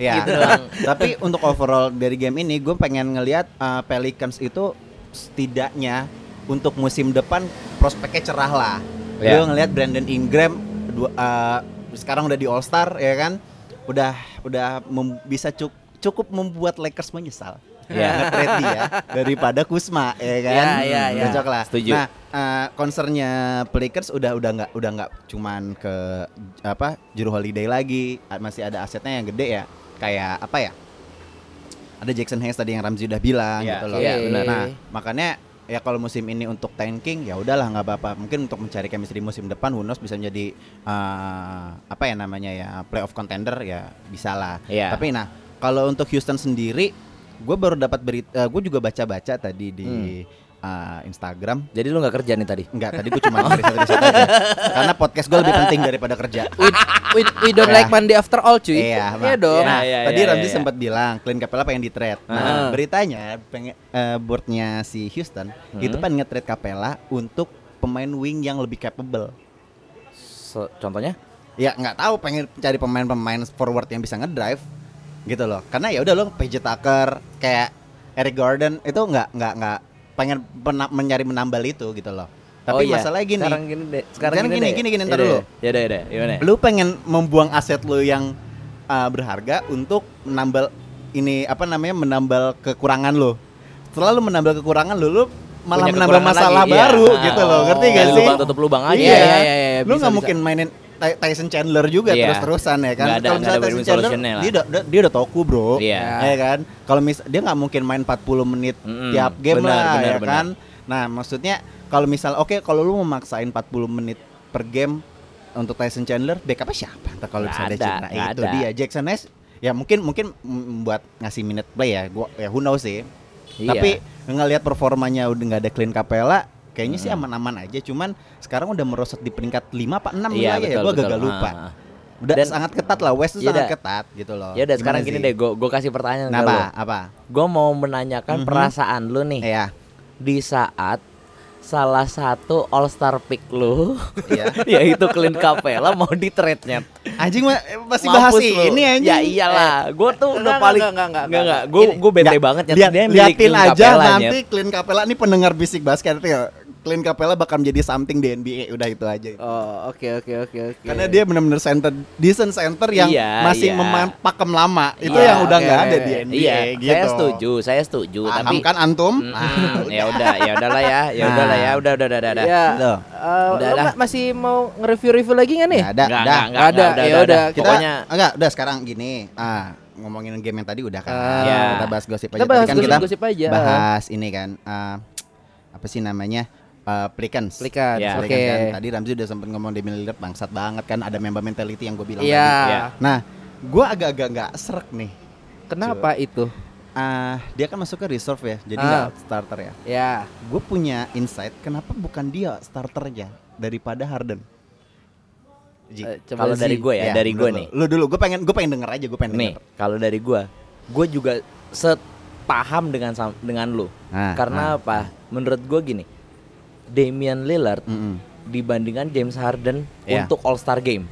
S2: Iya.
S3: gitu doang.
S2: Tapi untuk overall dari game ini gue pengen ngelihat uh, Pelicans itu setidaknya untuk musim depan prospeknya cerah lah.
S3: Iya.
S2: Gue ngelihat Brandon Ingram dua- uh, sekarang udah di All Star ya kan, udah udah mem- bisa cuk- cukup membuat Lakers menyesal.
S3: Iya.
S2: Ya, nge-trade dia daripada Kusma ya kan.
S1: Iya, iya, iya.
S2: Cocok lah.
S3: Setuju.
S2: Nah, uh, concernnya Pelicans udah udah nggak udah nggak cuman ke apa juru holiday lagi A- masih ada asetnya yang gede ya kayak apa ya ada Jackson Hayes tadi yang Ramzi udah bilang
S3: Iya,
S2: gitu loh
S1: iya, benar.
S2: nah makanya ya kalau musim ini untuk tanking ya udahlah nggak apa-apa mungkin untuk mencari chemistry musim depan Hunos bisa menjadi eh, apa ya namanya ya playoff contender ya bisa lah
S3: Iya.
S2: tapi nah kalau untuk Houston sendiri gue baru dapat berita gue juga baca-baca tadi di eh, Instagram
S3: Jadi lu nggak kerja nih tadi?
S2: Enggak, tadi gue cuma riset-riset aja Karena podcast gue lebih penting daripada kerja
S1: We, we, we don't
S2: Iya.
S1: like Monday after all cuy.
S2: Iya, Mak.
S1: dong.
S3: Iya.
S2: Nah, tadi
S3: iya,
S2: Ramzi
S3: iya.
S2: sempat bilang Clint Capella pengen di-trade. Nah,
S1: Ah.
S2: beritanya pengen eh, boardnya si Houston itu pengen nge-trade Capella untuk pemain wing yang lebih capable.
S3: So- contohnya?
S2: Ya nggak tahu pengen cari pemain-pemain forward yang bisa ngedrive gitu loh. Karena ya udah lo PJ Tucker kayak Eric Gordon itu nggak nggak nggak pengen mena- mencari menambal itu gitu loh. Tapi
S3: iya.
S2: masalahnya gini,
S3: Sekarang gini deh. Sekarang
S2: Jangan gini,
S3: deh. iya
S2: gini, gini, ntar
S3: Yaudah,
S2: dulu.
S3: yaudah, Yaudah, yaudah, gimana?
S2: lu pengen membuang aset lu yang uh, berharga untuk menambal ini apa namanya menambal kekurangan lu. Setelah lu menambal kekurangan lu, lu malah
S3: Punya
S2: menambal
S3: kekurangan
S2: masalah
S3: lagi, iya.
S2: baru
S3: Ah,
S2: gitu loh. Ngerti
S1: oh.
S2: gak
S3: Dari
S2: sih?
S3: lubang tutup lubang aja. ya.
S1: Iya, iya, iya, iya,
S2: lu
S1: bisa,
S2: nggak
S1: bisa.
S2: mungkin mainin Ty- Tyson Chandler juga
S3: Iya.
S2: terus-terusan ya kan.
S3: Nggak ada- nggak ada
S2: Kalau misalnya Tyson
S3: win-win
S2: Chandler,
S3: solution-nya lah.
S2: dia udah dia, dia udah toku, Bro.
S3: Iya.
S2: Ya kan? Kalau mis dia nggak mungkin main 40 menit
S3: Mm-mm.
S2: tiap game
S3: Benar,
S2: lah
S3: benar,
S2: ya
S3: benar.
S2: kan. Nah, maksudnya kalau misal oke kalau lu memaksain 40 menit per game untuk Tyson Chandler, backupnya siapa? Entah kalau
S3: Nggak
S2: misalnya
S3: ada,
S2: cedera
S3: nggak
S2: itu
S3: ada.
S2: dia Eh, Jackson Hayes ya mungkin mungkin mm, buat ngasih minute play ya. Gua ya who knows sih.
S3: Iya.
S2: Tapi ngelihat performanya udah nggak ada clean Capella, kayaknya sih
S3: Hmm.
S2: aman-aman aja. Cuman sekarang udah merosot di peringkat 5 apa 6
S3: Iya, betul,
S2: ya. Gua
S3: betul.
S2: agak lupa.
S3: Ah.
S2: Udah
S3: Dan-
S2: sangat ketat lah West tuh
S3: Iya,
S2: sangat
S3: dah.
S2: ketat gitu loh.
S3: Ya udah
S2: Gimana
S3: sekarang gini
S2: sih?
S3: deh, gue gue kasih pertanyaan
S2: Kenapa? Apa?
S3: Gue mau menanyakan
S2: Mhm.
S3: perasaan lu nih
S2: Iya.
S3: di saat salah satu all star pick lu
S2: Iya.
S3: yaitu Clint Capella mau di trade nya
S2: Anjing ma- masih bahas ini anjing.
S3: ya iyalah gue tuh udah
S1: Enggak,
S3: paling
S1: enggak, enggak, enggak,
S3: enggak
S1: enggak.
S3: gue
S1: Ini-
S3: gue bete
S2: Nggak,
S3: banget ya
S2: lihat-
S3: dia milik
S2: liatin
S3: Clint
S2: aja
S3: Capella,
S2: nanti Clint Capella ini pendengar bisik basket ya. Clint Capella bakal menjadi something di NBA udah itu aja.
S1: Oh, oke oke oke oke.
S2: Karena dia benar-benar center decent center yang
S3: Iya, iya.
S2: masih memain pakem lama. Itu
S3: Iya,
S2: yang udah
S1: oke,
S2: nggak ada
S1: oke,
S2: di
S1: oke.
S3: Nyet.
S2: NBA
S3: iya
S2: gitu.
S3: saya setuju saya setuju
S2: Paham
S3: tapi
S2: kan antum?
S3: Mm, ya udah ya udahlah ya ya
S2: Nah.
S3: udahlah ya udah udah udah udah
S1: Ya.
S2: Loh.
S1: eh,
S3: Udah
S1: lu
S3: dah.
S1: ma- masih mau nge-review-review lagi nggak nih?
S2: Nggak ada,
S3: Nggak,
S2: dah.
S3: nggak, nggak,
S1: Ada,
S3: nggak, udah,
S1: ya
S3: udah,
S1: udah.
S3: udah.
S2: Kita
S3: pokoknya
S2: enggak, udah sekarang gini. Ah, ngomongin game yang tadi udah kan.
S1: Ah.
S3: Iya.
S2: Kita bahas gosip aja.
S1: Kita
S2: Tadi
S1: bahas
S2: kan
S1: gosip-gosip aja.
S2: bahas ini kan eh, apa sih namanya Eh, Pelicans
S1: Pelicans,
S3: Ya.
S2: Pelicans
S1: oke.
S2: kan. tadi Ramzi udah sempet ngomong Damian Lillard bangsat banget kan ada member mentality yang gue bilang
S1: Iya.
S2: tadi. nah gue agak-agak nggak serak nih
S1: Kenapa itu?
S2: Ah, dia kan masuk ke reserve ya jadi
S1: Ah.
S2: nggak starter ya
S1: Ya.
S2: gue punya insight kenapa bukan dia starternya daripada Harden Ji,
S1: Eh, coba
S3: kalau
S1: Zee.
S3: dari gue ya, dari gue
S2: menurut
S3: nih
S2: Iya, lu. lu dulu gue pengen gue pengen denger aja gue pengen
S3: nih
S2: denger.
S3: kalau dari gue gue juga sepaham dengan sam- dengan lu
S2: Ah,
S3: karena apa menurut gue gini Damian Lillard
S2: ah. Mm-mm.
S3: dibandingkan James Harden
S2: Iya.
S3: untuk All Star Game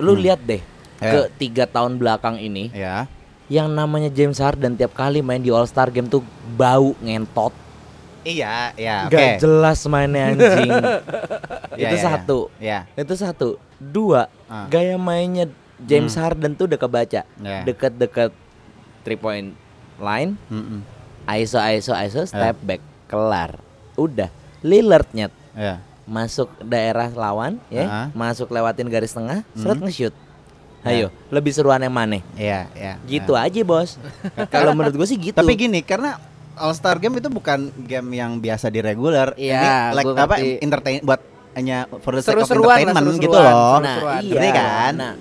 S3: lu lihat deh
S2: Ya.
S3: ke tiga tahun belakang ini
S2: Ya.
S3: yang namanya James Harden tiap kali main di All Star game tuh bau ngentot
S2: Iya, ya. Oke.
S3: Gak jelas mainnya anjing
S2: Ya,
S3: itu
S2: ya, ya.
S3: satu
S2: Ya.
S3: itu satu dua
S2: Ah.
S3: gaya mainnya James
S2: Hmm.
S3: Harden tuh udah kebaca
S2: Ya.
S3: deket-deket three point line
S2: Mm-mm.
S3: ISO ISO ISO step back kelar udah Lillardnya
S2: Ya.
S3: masuk daerah lawan ya
S2: Ah.
S3: masuk lewatin garis tengah seret
S2: Hmm.
S3: nge-shoot
S2: Ya.
S3: ayo lebih seruan yang mana
S2: Iya, ya.
S3: gitu
S2: ya.
S3: aja bos kalau menurut gue sih gitu
S2: Tapi gini, karena All Star Game itu bukan game yang biasa di regular. Ini
S1: Iya,
S2: like
S1: gua
S2: apa?
S1: ngerti.
S2: Entertain buat hanya for the sake of
S1: Seru-seruan lah,
S2: entertainment gitu
S1: seru-seruan.
S2: loh.
S1: seru-seruan.
S3: nah
S2: Ngerti
S3: iya
S2: kan?
S3: nah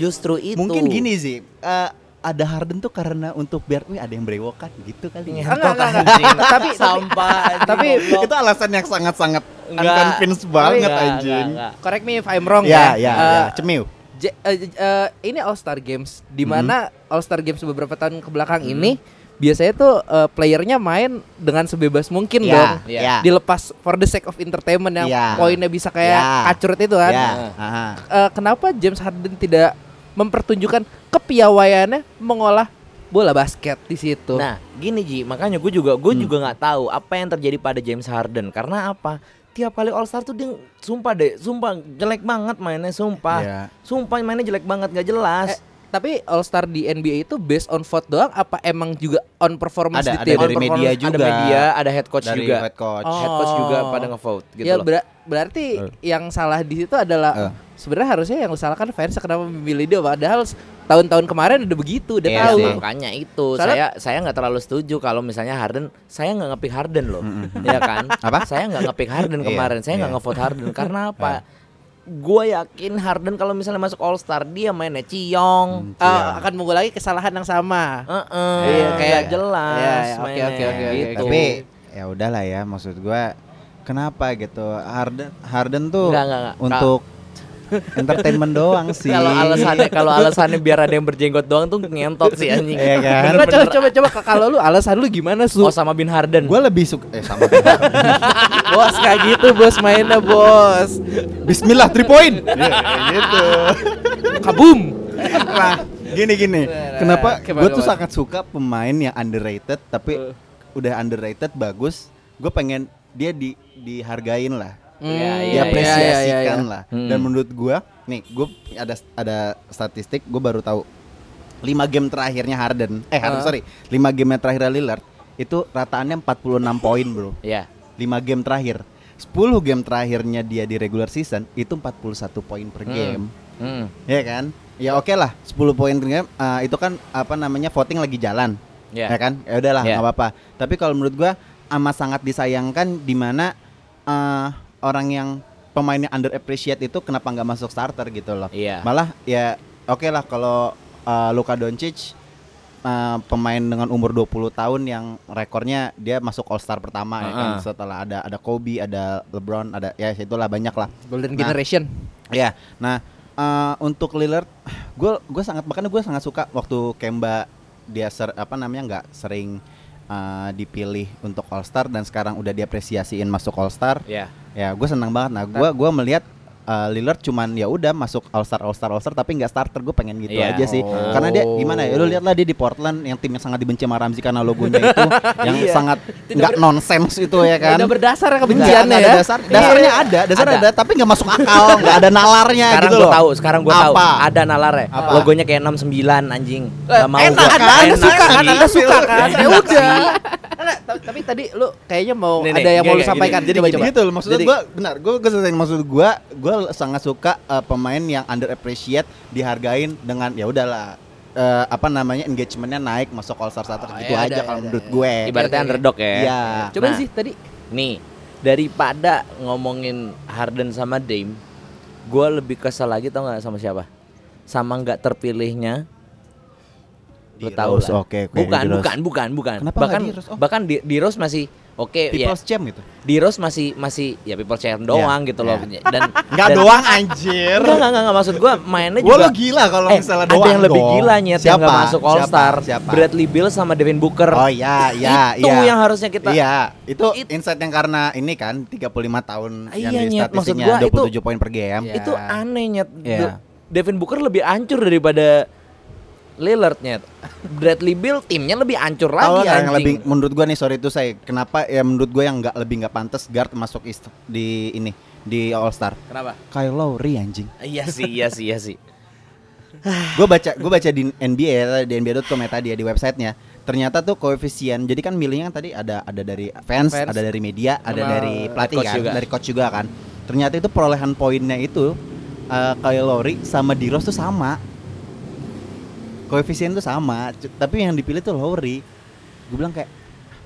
S3: justru itu
S2: Mungkin gini sih. eh, ada Harden tuh karena untuk biar wih ada yang berewokan gitu kali ya.
S1: Enggak, enggak, enggak. tapi
S3: sampah
S1: tapi
S2: itu alasan yang sangat-sangat
S3: Enggak.
S2: unconvinced banget
S3: Enggak,
S2: anjing.
S3: enggak, enggak.
S1: correct me if I'm wrong
S2: Ya,
S1: ya.
S2: ya,
S1: Eh,
S2: ya. Cemil.
S1: J- eh, j- eh, ini All Star Games
S2: Mm-hmm.
S1: di mana All Star Games beberapa tahun kebelakang ini biasanya tuh eh, playernya main dengan sebebas mungkin
S2: Iya,
S1: dong.
S3: Iya.
S2: iya.
S1: Dilepas for the sake of entertainment yang
S2: Iya.
S1: poinnya bisa kayak
S2: Iya.
S1: kacurut itu kan.
S2: Ya,
S3: Nah.
S2: aha.
S1: Eh, kenapa James Harden tidak mempertunjukkan kepiawaiannya mengolah bola basket di situ?
S3: Nah, gini Ji, makanya gue juga
S2: Hmm.
S3: gue juga nggak tahu apa yang terjadi pada James Harden karena apa? Tiap kali All Star tuh dia sumpah deh, sumpah jelek banget mainnya, sumpah.
S2: Iya.
S3: Sumpah mainnya jelek banget, nggak jelas.
S1: Eh, tapi All Star di NBA itu based on vote doang apa emang juga on performance
S2: Ada- ada
S1: di tim?
S2: dari
S3: Performance-
S2: media
S3: Ada
S2: juga.
S3: media, ada head coach
S2: Dari
S3: juga.
S2: head coach.
S1: Oh.
S3: Head coach juga pada ngevote gitu
S1: ya
S3: loh.
S1: ber- berarti yang salah di situ adalah
S2: Eh.
S1: sebenarnya harusnya yang disalahkan fans kenapa memilih dia padahal s- tahun-tahun kemarin udah begitu udah
S3: Iya,
S1: tahu.
S3: sih. makanya itu
S1: Soalnya-
S3: saya saya nggak terlalu setuju kalau misalnya Harden saya nggak ngepick Harden loh ya kan
S2: Apa?
S3: saya nggak ngepick Harden
S2: Iya,
S3: kemarin saya nggak
S2: iya.
S3: ngevote Harden karena apa
S1: Iya.
S3: gue yakin Harden kalau misalnya masuk All Star dia mainnya ciong
S1: Eh, akan mengulangi kesalahan yang sama.
S3: Eh. Heeh,
S1: Iya,
S3: nggak
S1: kayak-
S3: jelas
S1: iya, iya, oke,
S3: mainnya,
S1: oke, oke, oke,
S3: gitu.
S1: oke.
S2: Tapi ya udahlah ya maksud gua kenapa gitu Harden Harden tuh
S3: Enggak, enggak, enggak.
S2: untuk entertainment doang sih.
S3: kalau alasannya kalau alasannya biar ada yang berjenggot doang tuh ngentot sih anjing
S2: Iya kan?
S1: Coba coba coba, coba Kak, kalau lu alasan lu gimana su?
S3: Osama bin Harden
S2: Gua lebih suka eh sama
S1: bos kayak gitu bos mainnya bos.
S2: Bismillah 3 point. Iya, kayak gitu.
S1: Kabum.
S2: Nah, gini gini. Kenapa
S1: Gimana,
S2: gua tuh
S1: gimana?
S2: sangat suka pemain yang underrated tapi
S3: Uh.
S2: udah underrated bagus. Gue pengen dia di dihargain lah.
S3: Iya,
S1: Hmm,
S3: iya,
S2: diapresiasikan
S1: iya, iya, iya.
S2: lah.
S3: Hmm.
S2: Dan menurut gua, nih, gua ada ada statistik, gua baru tahu 5 game terakhirnya Harden, eh Harden
S3: Uh.
S1: Ah.
S2: sorry, 5 game terakhir Lillard itu rataannya 46 poin, Bro.
S3: ya
S2: 5 game terakhir. 10 game terakhirnya dia di regular season itu 41 poin per
S3: Hmm.
S2: game.
S3: Hmm.
S2: Ya kan? Ya oke lah, 10 poin per game eh, itu kan apa namanya voting lagi jalan
S3: ya
S1: Iya
S2: ya kan ya udahlah
S3: Ya.
S2: nggak apa-apa tapi kalau menurut gua amat sangat disayangkan di mana eh, orang yang pemainnya under appreciate itu kenapa nggak masuk starter gitu loh
S3: Iya.
S2: malah ya oke lah kalau eh, Luka Doncic eh, pemain dengan umur 20 tahun yang rekornya dia masuk All Star pertama ya kan
S3: Heeh.
S2: setelah ada ada Kobe ada LeBron ada ya itulah banyak lah
S1: Golden
S2: Nah.
S1: Generation.
S2: Ya, nah eh, untuk Lillard, gue gue sangat makanya gue sangat suka waktu Kemba dia ser, apa namanya nggak sering eh, dipilih untuk All Star dan sekarang udah diapresiasiin masuk All Star.
S3: ya
S2: Ya, gue senang banget. Nah, gue gua melihat eh, Lillard cuman ya udah masuk All Star All Star All Star tapi nggak starter gue pengen gitu
S3: Iya.
S2: aja sih
S1: Oh.
S2: karena dia gimana ya lu lihatlah dia di Portland yang tim yang sangat dibenci sama Ramzi karena logonya itu yang
S1: Iya.
S2: sangat
S1: Tidak
S2: nggak
S1: ber-
S2: nonsense itu ya kan
S1: Udah berdasar ya
S2: Enggak,
S1: kebenciannya
S2: enggak
S1: ya.
S2: ada dasar, dasarnya ada, dasarnya
S3: Ada.
S2: ada, tapi nggak masuk akal, nggak ada nalarnya
S3: sekarang
S2: gitu
S3: gue
S2: loh.
S3: tahu sekarang gue tahu
S2: Apa?
S3: ada nalarnya
S2: Apa?
S3: logonya kayak 69 anjing
S1: Eh,
S3: Gak mau
S1: enak
S3: gua. Iya.
S1: kan anda
S3: Enak
S1: suka kan
S3: sih.
S1: anda suka kan ya
S3: Enak
S1: udah
S2: Nah,
S1: Enak, ta- tapi tadi lu kayaknya mau
S3: Nih, nih,
S1: ada yang mau
S3: gini,
S1: lu
S3: gini,
S1: sampaikan
S3: gini,
S1: coba
S3: gini.
S1: coba
S2: Gitu loh, maksudnya
S1: Jadi-
S2: gue benar, gue gue selesaiin. maksud gue, gue sangat suka eh, pemain yang under appreciate dihargain dengan ya udahlah eh, apa namanya engagementnya naik masuk all star starter
S1: Oh,
S2: gitu
S1: iya,
S2: aja
S1: ada,
S2: kalau
S1: ada,
S2: menurut
S1: ada.
S2: gue.
S3: ibaratnya
S1: Oke, oke.
S3: underdog ya
S2: Iya.
S1: coba
S3: Nah.
S1: sih tadi
S3: nih daripada ngomongin Harden sama Dame gue lebih kesel lagi tau nggak sama siapa sama nggak terpilihnya lu
S2: Di
S3: tahu
S2: Rose,
S3: lah
S2: gitu oke, gitu oke,
S3: bukan
S2: di Rose.
S3: bukan bukan bukan
S2: Kenapa nggak
S3: bahkan
S2: di Rose? Oh.
S3: bahkan di, di Rose masih oke ya
S2: People's champ gitu.
S3: di Rose masih masih ya people champ doang
S2: Iya,
S3: gitu loh dan
S2: Enggak
S3: dan-
S2: doang anjir.
S3: Enggak, enggak, enggak, enggak. maksud gua mainnya
S2: Gua
S3: juga
S2: lo gila kalau
S3: Eh,
S2: misalnya
S3: ada
S2: doang
S3: yang lebih
S2: dong.
S3: gila nyet yang nggak
S2: Siapa?
S3: masuk All
S2: Siapa?
S3: Star.
S2: Siapa?
S3: Bradley Beal sama Devin Booker.
S2: Oh iya, iya,
S3: Itu
S2: iya.
S3: yang harusnya kita-
S2: Iya, itu
S3: It-
S2: insight yang karena ini kan 35 tahun yang
S3: Iya,
S2: di
S3: Nyet. Maksud
S2: statistiknya
S3: gua itu-
S2: 27 poin per game.
S1: Iya.
S3: Itu aneh nyet.
S2: Iya.
S3: Du- Devin Booker lebih ancur daripada Lillardnya. Bradley Beal timnya lebih ancur
S2: Kalau
S3: lagi anjing.
S2: yang lebih menurut gua nih sorry itu saya kenapa ya menurut gua yang nggak lebih nggak pantas guard masuk ist- di ini di All Star.
S3: Kenapa?
S2: Kyle Lowry anjing.
S3: Iya sih, iya sih, iya sih.
S2: gue baca gue baca di NBA ya, di NBA.com ya tadi ya di websitenya ternyata tuh koefisien jadi kan milihnya kan tadi ada ada dari fans,
S1: Fans.
S2: ada dari media ada
S1: Sama
S2: dari pelatih
S3: coach
S2: kan
S3: juga.
S2: dari coach juga kan ternyata itu perolehan poinnya itu eh Kyle Lowry sama Diros tuh sama koefisien tuh sama cu- tapi yang dipilih tuh Lowry gue bilang kayak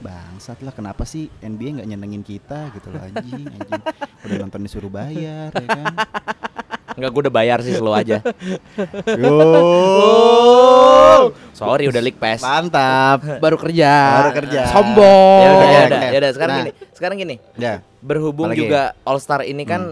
S2: "Ah, bangsat lah kenapa sih NBA nggak nyenengin kita gitu loh anjing anjing udah nonton disuruh bayar ya kan
S3: Enggak gue udah bayar sih slow aja.
S2: Yo.
S3: Sorry udah leak pass.
S2: Mantap.
S1: baru kerja
S2: Baru kerja.
S1: sombong
S3: Ya udah, ya
S2: Oh,
S3: udah,
S2: oke.
S3: ya udah. Sekarang
S2: Nah.
S3: gini, sekarang gini.
S2: Ya.
S3: Berhubung
S2: Apalagi? Hmm.
S3: juga All Star ini kan,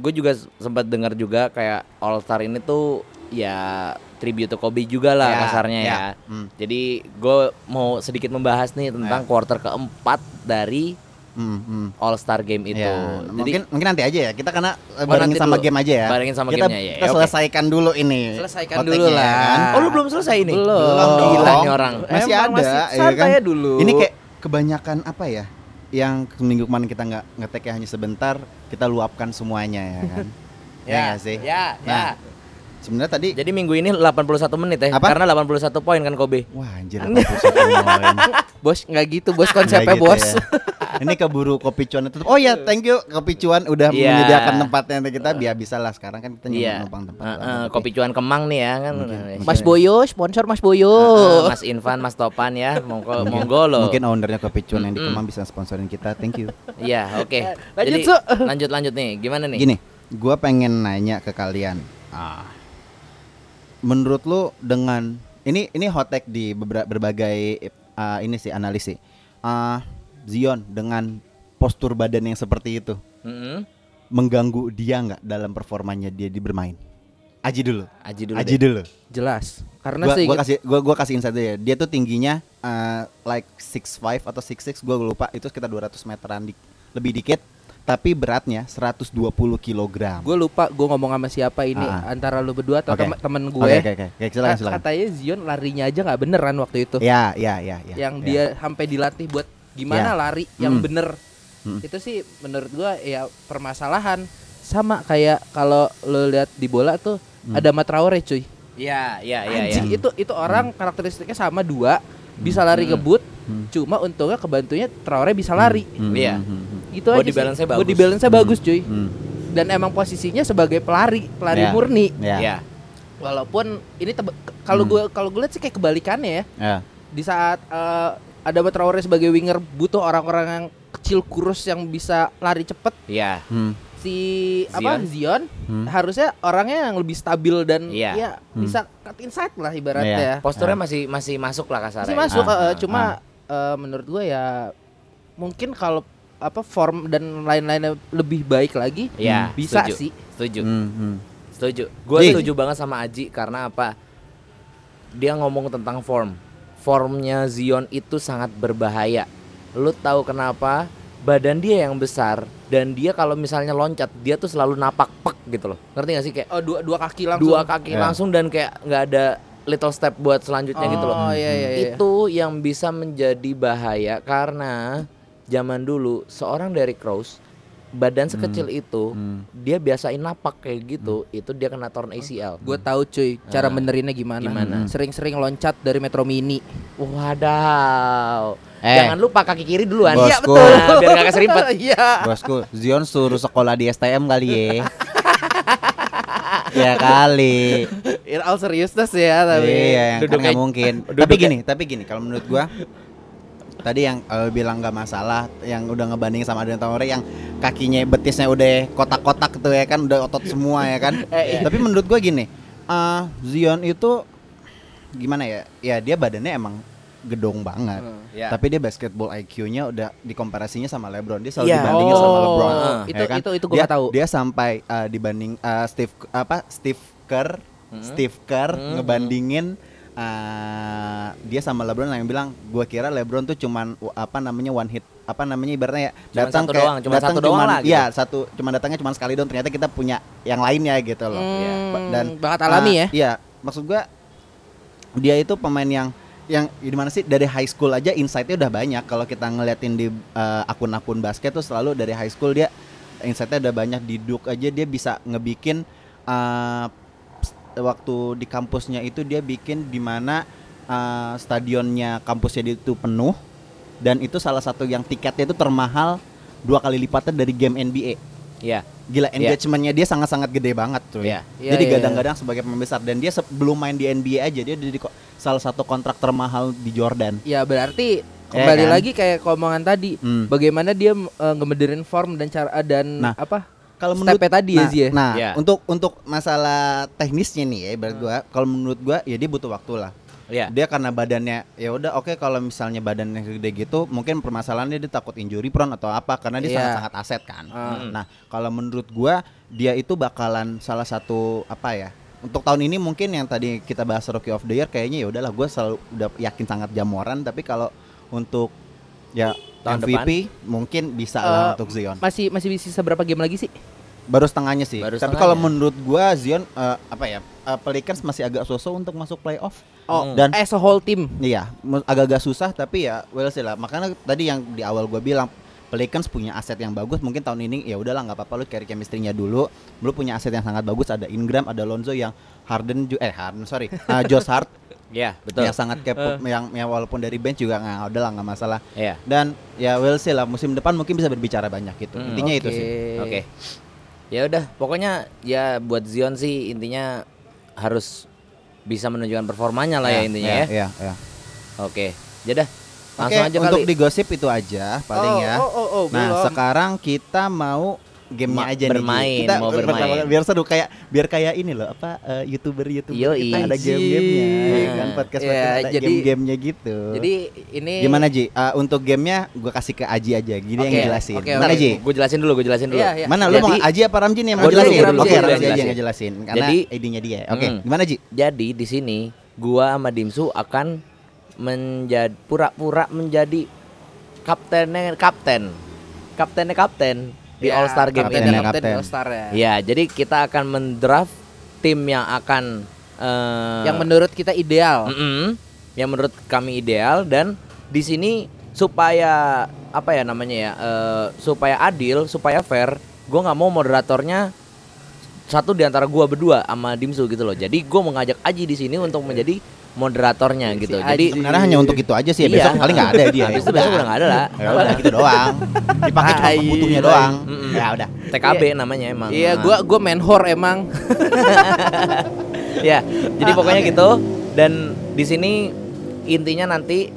S3: gue juga s- sempat dengar juga kayak All Star ini tuh ya tribute to Kobe juga lah
S2: Ya,
S3: kasarnya
S2: ya.
S3: ya.
S2: Hmm.
S3: Jadi gue mau sedikit membahas nih tentang quarter keempat dari
S2: Hmm, hmm.
S3: All Star Game itu.
S2: Ya, mungkin mungkin nanti aja ya. Kita karena
S3: Oh,
S2: eh,
S3: nanti
S2: barengin sama
S3: dulu.
S2: game aja ya.
S3: Barengin sama
S2: kita,
S3: gamenya, ya,
S2: Kita
S3: oke.
S2: selesaikan dulu ini.
S1: Selesaikan
S2: konteknya,
S1: dulu lah.
S2: kan?
S3: oh lu belum selesai ini?
S1: Belum.
S2: dong. Iya
S3: Gila nih orang.
S2: Masih
S1: Emang
S2: ada.
S1: masih
S2: ya
S1: santai ya dulu.
S2: Ini kayak kebanyakan apa ya? Yang minggu kemarin kita nggak ngetek ya hanya sebentar, kita luapkan semuanya ya kan. ya, nggak sih.
S3: Ya, ya.
S2: Nah. Sebenarnya tadi
S3: Jadi minggu ini 81 menit ya,
S2: Apa?
S3: karena 81 poin kan Kobe.
S2: wah anjir 81 poin.
S1: bos nggak gitu bos konsepnya
S2: Nggak gitu
S1: bos
S2: ya. Ini keburu kopi cuan tutup. Oh ya, thank you kopi cuan udah
S3: Iya.
S2: menyediakan tempatnya untuk kita biar bisa lah sekarang kan kita nyoba
S3: Iya.
S2: numpang tempat.
S3: Heeh,
S2: orang. Tapi-
S3: kopi cuan Kemang nih ya kan.
S2: Mungkin,
S3: Eh,
S1: Mas
S3: sini.
S1: Boyo sponsor Mas Boyo
S2: Ah,
S3: Heeh, Mas Infan, Mas Topan ya, monggo
S2: Mungkin-
S3: monggo lo.
S2: Mungkin ownernya kopi cuan yang di
S3: Mm-mm.
S2: Kemang bisa sponsorin kita. Thank you.
S3: Iya, oke.
S1: Eh, Lanjut,
S3: Jadi,
S1: Su.
S3: lanjut lanjut nih, gimana nih?
S2: Gini, gua pengen nanya ke kalian. Ah. Menurut lu dengan ini ini hot take di bebera- berbagai eh, ini sih analis sih. Ah, Zion dengan postur badan yang seperti itu
S3: Mm-mm.
S2: mengganggu dia nggak dalam performanya dia di bermain? Aji dulu.
S3: Aji dulu.
S2: Aji
S3: deh.
S2: dulu.
S1: jelas karena
S2: Gua,
S1: sih gitu.
S2: gua kasih gua gua kasih insight aja ya. Dia tuh tingginya eh, like 65 atau 66, gua lupa itu sekitar 200 meteran di, lebih dikit, tapi beratnya 120 kilogram.
S1: gue lupa gue ngomong sama siapa ini
S2: Ah.
S1: antara lu berdua atau
S2: Oke.
S1: tem- temen
S2: Oke,
S1: gue
S3: ya?
S2: Oke oke oke, silakan
S1: Ka-
S2: silakan.
S1: katanya Zion larinya aja nggak beneran waktu itu
S2: Ya, ya, ya, ya.
S1: yang
S2: ya.
S1: dia sampai dilatih buat gimana
S2: Ya.
S1: lari yang
S2: Mm.
S1: bener
S2: Mm.
S1: itu sih menurut gua ya permasalahan sama kayak kalau lu lihat di bola tuh
S2: Hmm.
S1: ada Matraore cuy
S3: Iya, iya,
S2: Ah,
S3: iya, iya.
S1: Anjing, itu itu orang karakteristiknya sama dua bisa lari
S3: Hmm.
S1: ngebut
S2: Hmm.
S1: cuma untungnya kebantunya Traore bisa lari
S2: Hmm,
S3: Iya.
S2: hmm, hmm,
S1: gitu
S3: Body
S1: aja sih.
S3: balance-nya bagus.
S1: body balance-nya bagus cuy
S2: hmm.
S1: dan emang posisinya sebagai pelari pelari
S2: Ya.
S1: murni
S2: Ya.
S3: Iya.
S1: walaupun ini tebe- ke- kalau
S2: Hmm.
S1: gua kalau gue lihat sih kayak kebalikannya ya
S2: ya.
S1: di saat eh, ada Traore sebagai winger butuh orang-orang yang kecil kurus yang bisa lari cepet
S3: Iya.
S2: Hmm,
S1: si apa Zion
S2: hmm.
S1: harusnya orangnya yang lebih stabil dan
S3: Iya.
S1: ya
S2: Hmm.
S1: bisa cut inside lah ibaratnya
S3: Posturnya
S2: Nah.
S3: masih masih masuk lah kasarnya.
S1: Masih masuk
S2: Ah,
S1: eh, eh,
S2: ah,
S1: cuma eh, menurut gua ya mungkin kalau apa form dan lain-lainnya lebih baik lagi
S3: Iya,
S1: bisa
S3: setuju.
S1: sih
S3: Setuju.
S2: Hmm, hmm.
S3: Setuju. Gue
S2: Ji.
S3: setuju banget sama Aji karena apa? Dia ngomong tentang form. Formnya Zion itu sangat berbahaya. Lu tahu kenapa? Badan dia yang besar dan dia kalau misalnya loncat dia tuh selalu napak pek gitu loh. Ngerti gak sih kayak
S1: oh, dua dua kaki langsung Iya.
S3: dua kaki
S2: Ya.
S3: langsung dan kayak nggak ada little step buat selanjutnya gitu loh.
S1: oh iya iya iya
S3: Itu yang bisa menjadi bahaya karena zaman dulu seorang dari Rose badan sekecil itu
S2: Hmm.
S3: dia biasain napak kayak gitu, itu dia kena torn ACL.
S1: gue tahu cuy cara
S3: Ah.
S1: benerinnya gimana
S3: Gimana?
S1: sering-sering loncat dari metro mini
S3: Oh. Wadaw.
S2: Eh.
S3: Jangan lupa kaki kiri duluan.
S2: Bosku.
S3: Nah, biar gak keserimpet.
S1: iya
S2: Bosku, Zion suruh sekolah di STM kali ya. ya kali.
S1: in all seriousness ya tapi
S2: Iya, yang kan
S3: duduknya-
S2: nggak mungkin. Tapi gini, tapi gini kalau menurut gua tadi yang eh, bilang nggak masalah, yang udah ngebanding sama Adrian Traore yang kakinya betisnya udah kotak-kotak tuh ya kan, udah otot semua ya kan.
S1: iya.
S2: tapi menurut gua gini, eh, Zion itu gimana ya? Ya dia badannya emang gedong banget.
S1: Hmm,
S3: Ya.
S1: iya.
S2: Tapi dia basketball IQ-nya udah dikomparasinya sama LeBron. Dia selalu
S3: Iya.
S2: dibandingin sama
S1: Oh,
S2: LeBron.
S1: itu-
S2: ya kan?
S1: itu- itu gua
S2: dia,
S1: nggak tahu.
S2: Dia sampai eh, dibanding eh, Steve apa Steve Kerr,
S3: Hmm.
S2: Steve Kerr
S3: Hmm,
S2: ngebandingin eh, eh, dia sama LeBron yang bilang gua kira LeBron tuh cuman w- apa namanya one hit apa namanya ibaratnya ya
S3: Cuman
S2: datang
S3: satu
S2: kayak-
S3: doang, cuman
S2: datang
S3: satu doang
S2: cuman-
S3: lah gitu.
S2: iya satu cuman datangnya cuman sekali doang ternyata kita punya yang lainnya gitu loh Iya. Ba- dan
S1: dan banget Hmm, alami
S2: Ah,
S1: ya.
S2: Iya, maksud gua dia itu pemain yang yang gimana sih dari high school aja insight-nya udah banyak. Kalau kita ngeliatin di eh, akun-akun basket tuh selalu dari high school dia insight-nya udah banyak di Duke aja dia bisa ngebikin eh, ps- waktu di kampusnya itu dia bikin di mana eh, stadionnya kampusnya itu penuh dan itu salah satu yang tiketnya itu termahal dua kali lipatnya dari game NBA
S3: Iya.
S2: gila
S3: Iya.
S2: engagementnya dia sangat-sangat gede banget tuh
S3: Iya.
S1: Iya,
S2: jadi
S1: iya,
S2: gadang-gadang sebagai pemain besar dan dia sebelum main di NBA aja dia jadi ko- salah satu kontrak termahal di Jordan
S1: Ya berarti kembali
S2: kan?
S1: lagi kayak omongan tadi,
S2: Hmm.
S1: bagaimana dia eh, ngemederin form dan cara
S2: Nah,
S1: dan apa?
S2: kalau menurut
S1: Stepnya tadi ya
S2: nah,
S1: Zia.
S2: nah
S3: Iya.
S2: untuk untuk masalah teknisnya nih ya ibarat gua kalau menurut gua ya dia butuh waktu lah
S3: Iya.
S2: dia karena badannya ya udah oke kalau misalnya badannya gede gitu mungkin permasalahannya dia takut injury prone atau apa karena dia
S1: Iya.
S2: sangat-sangat aset kan
S1: Ah.
S2: nah kalau menurut gua dia itu bakalan salah satu apa ya untuk tahun ini mungkin yang tadi kita bahas rookie of the year kayaknya ya udahlah gua selalu udah yakin sangat jamoran tapi kalau untuk ya
S3: Tahun
S2: MVP mungkin bisa
S1: Eh,
S2: lah untuk Zion
S1: Masih masih sisa berapa game lagi sih?
S2: baru setengahnya sih
S3: Baru
S2: tapi
S3: setengahnya.
S2: kalau menurut gua Zion eh, apa ya eh, Pelicans masih agak sosok untuk masuk playoff Hmm.
S1: Oh,
S2: Dan-
S1: as a whole team.
S2: Iya, mu- agak-agak susah tapi ya well sih lah. Makanya tadi yang di awal gue bilang Pelicans punya aset yang bagus mungkin tahun ini ya udahlah nggak apa-apa lu cari chemistry-nya dulu. Lu punya aset yang sangat bagus ada Ingram, ada Lonzo yang Harden ju- eh Harden sorry, Ah, Josh Hart
S3: Iya, betul. Eh.
S2: yang sangat kepo yang, yang walaupun dari bench juga nggak udahlah nggak masalah.
S3: Iya.
S2: Dan ya well sih lah musim depan mungkin bisa berbicara banyak gitu.
S3: Hmm,
S2: Intinya itu
S1: Oke.
S2: sih.
S3: Oke. Ya udah, pokoknya ya buat Zion sih intinya harus bisa menunjukkan performanya lah ya, intinya ya.
S2: Iya, iya.
S3: Oke. Jadi dah,
S2: Oke,
S3: langsung aja
S2: untuk
S3: kali.
S2: di gosip itu aja paling
S1: Oh,
S2: ya.
S1: Oh, oh, oh,
S2: Nah
S1: belum.
S2: sekarang kita mau gamenya
S3: Ma-
S2: aja nih, Ji.
S3: bermain,
S2: kita
S3: mau
S2: pertama
S3: bermain.
S2: kali- biar seru kayak biar kayak ini loh apa eh, youtuber youtuber
S3: Yoi.
S2: kita ada
S1: Anjing.
S2: game-gamenya ya kan
S3: Nah,
S2: podcast
S1: ya,
S2: podcast ada
S1: jadi-
S2: game-gamenya gitu.
S1: Jadi ini
S2: gimana Ji? Eh, untuk gamenya gue kasih ke Aji aja, gini yang
S1: Oke,
S2: jelasin.
S1: oke,
S2: Gimana
S1: oke.
S2: Ji?
S3: Gue jelasin dulu, gue jelasin dulu.
S1: Iya, iya.
S2: Mana lu mau
S3: Jadi-
S2: Aji apa Ramji nih yang mau
S3: Gua dulu,
S2: jelasin?
S1: gua dulu,
S2: Oke
S1: gua dulu
S2: Ramji aja
S1: jelasin.
S2: yang jelasin karena
S3: Jadi-
S2: ID-nya dia. Oke
S3: Hmm.
S2: gimana Ji?
S3: Jadi di sini gua sama Dimsu akan menjadi pura-pura menjadi kaptennya kapten. Kaptennya kapten di
S1: Ya,
S3: All Star Game
S1: kapten,
S3: ini.
S1: Kapten,
S2: Kapten. Iya.
S1: All Star ya.
S3: Ya, jadi kita akan mendraft tim yang akan eh,
S1: Yang menurut kita ideal.
S3: Mm-mm. yang menurut kami ideal dan di sini supaya apa ya namanya ya eh, supaya adil supaya fair gue nggak mau moderatornya satu di antara gue berdua sama Dimsu gitu loh jadi gue mengajak Aji di sini untuk menjadi moderatornya gitu jadi
S1: Aji.
S2: Sebenarnya hanya untuk itu aja sih.
S3: Iya.
S2: Besok paling nggak ada dia.
S3: habis
S2: Ya
S3: itu besok
S2: udah.
S3: udah nggak ada lah
S2: Ya udah gitu doang. Dipakai cuma
S1: Hai.
S2: butuhnya doang.
S3: Mm-mm.
S2: Ya udah.
S3: TKB namanya emang
S1: Iya,
S3: Nah.
S1: gua gua main whore emang.
S3: ya jadi
S1: Ah,
S3: pokoknya gitu dan di sini intinya nanti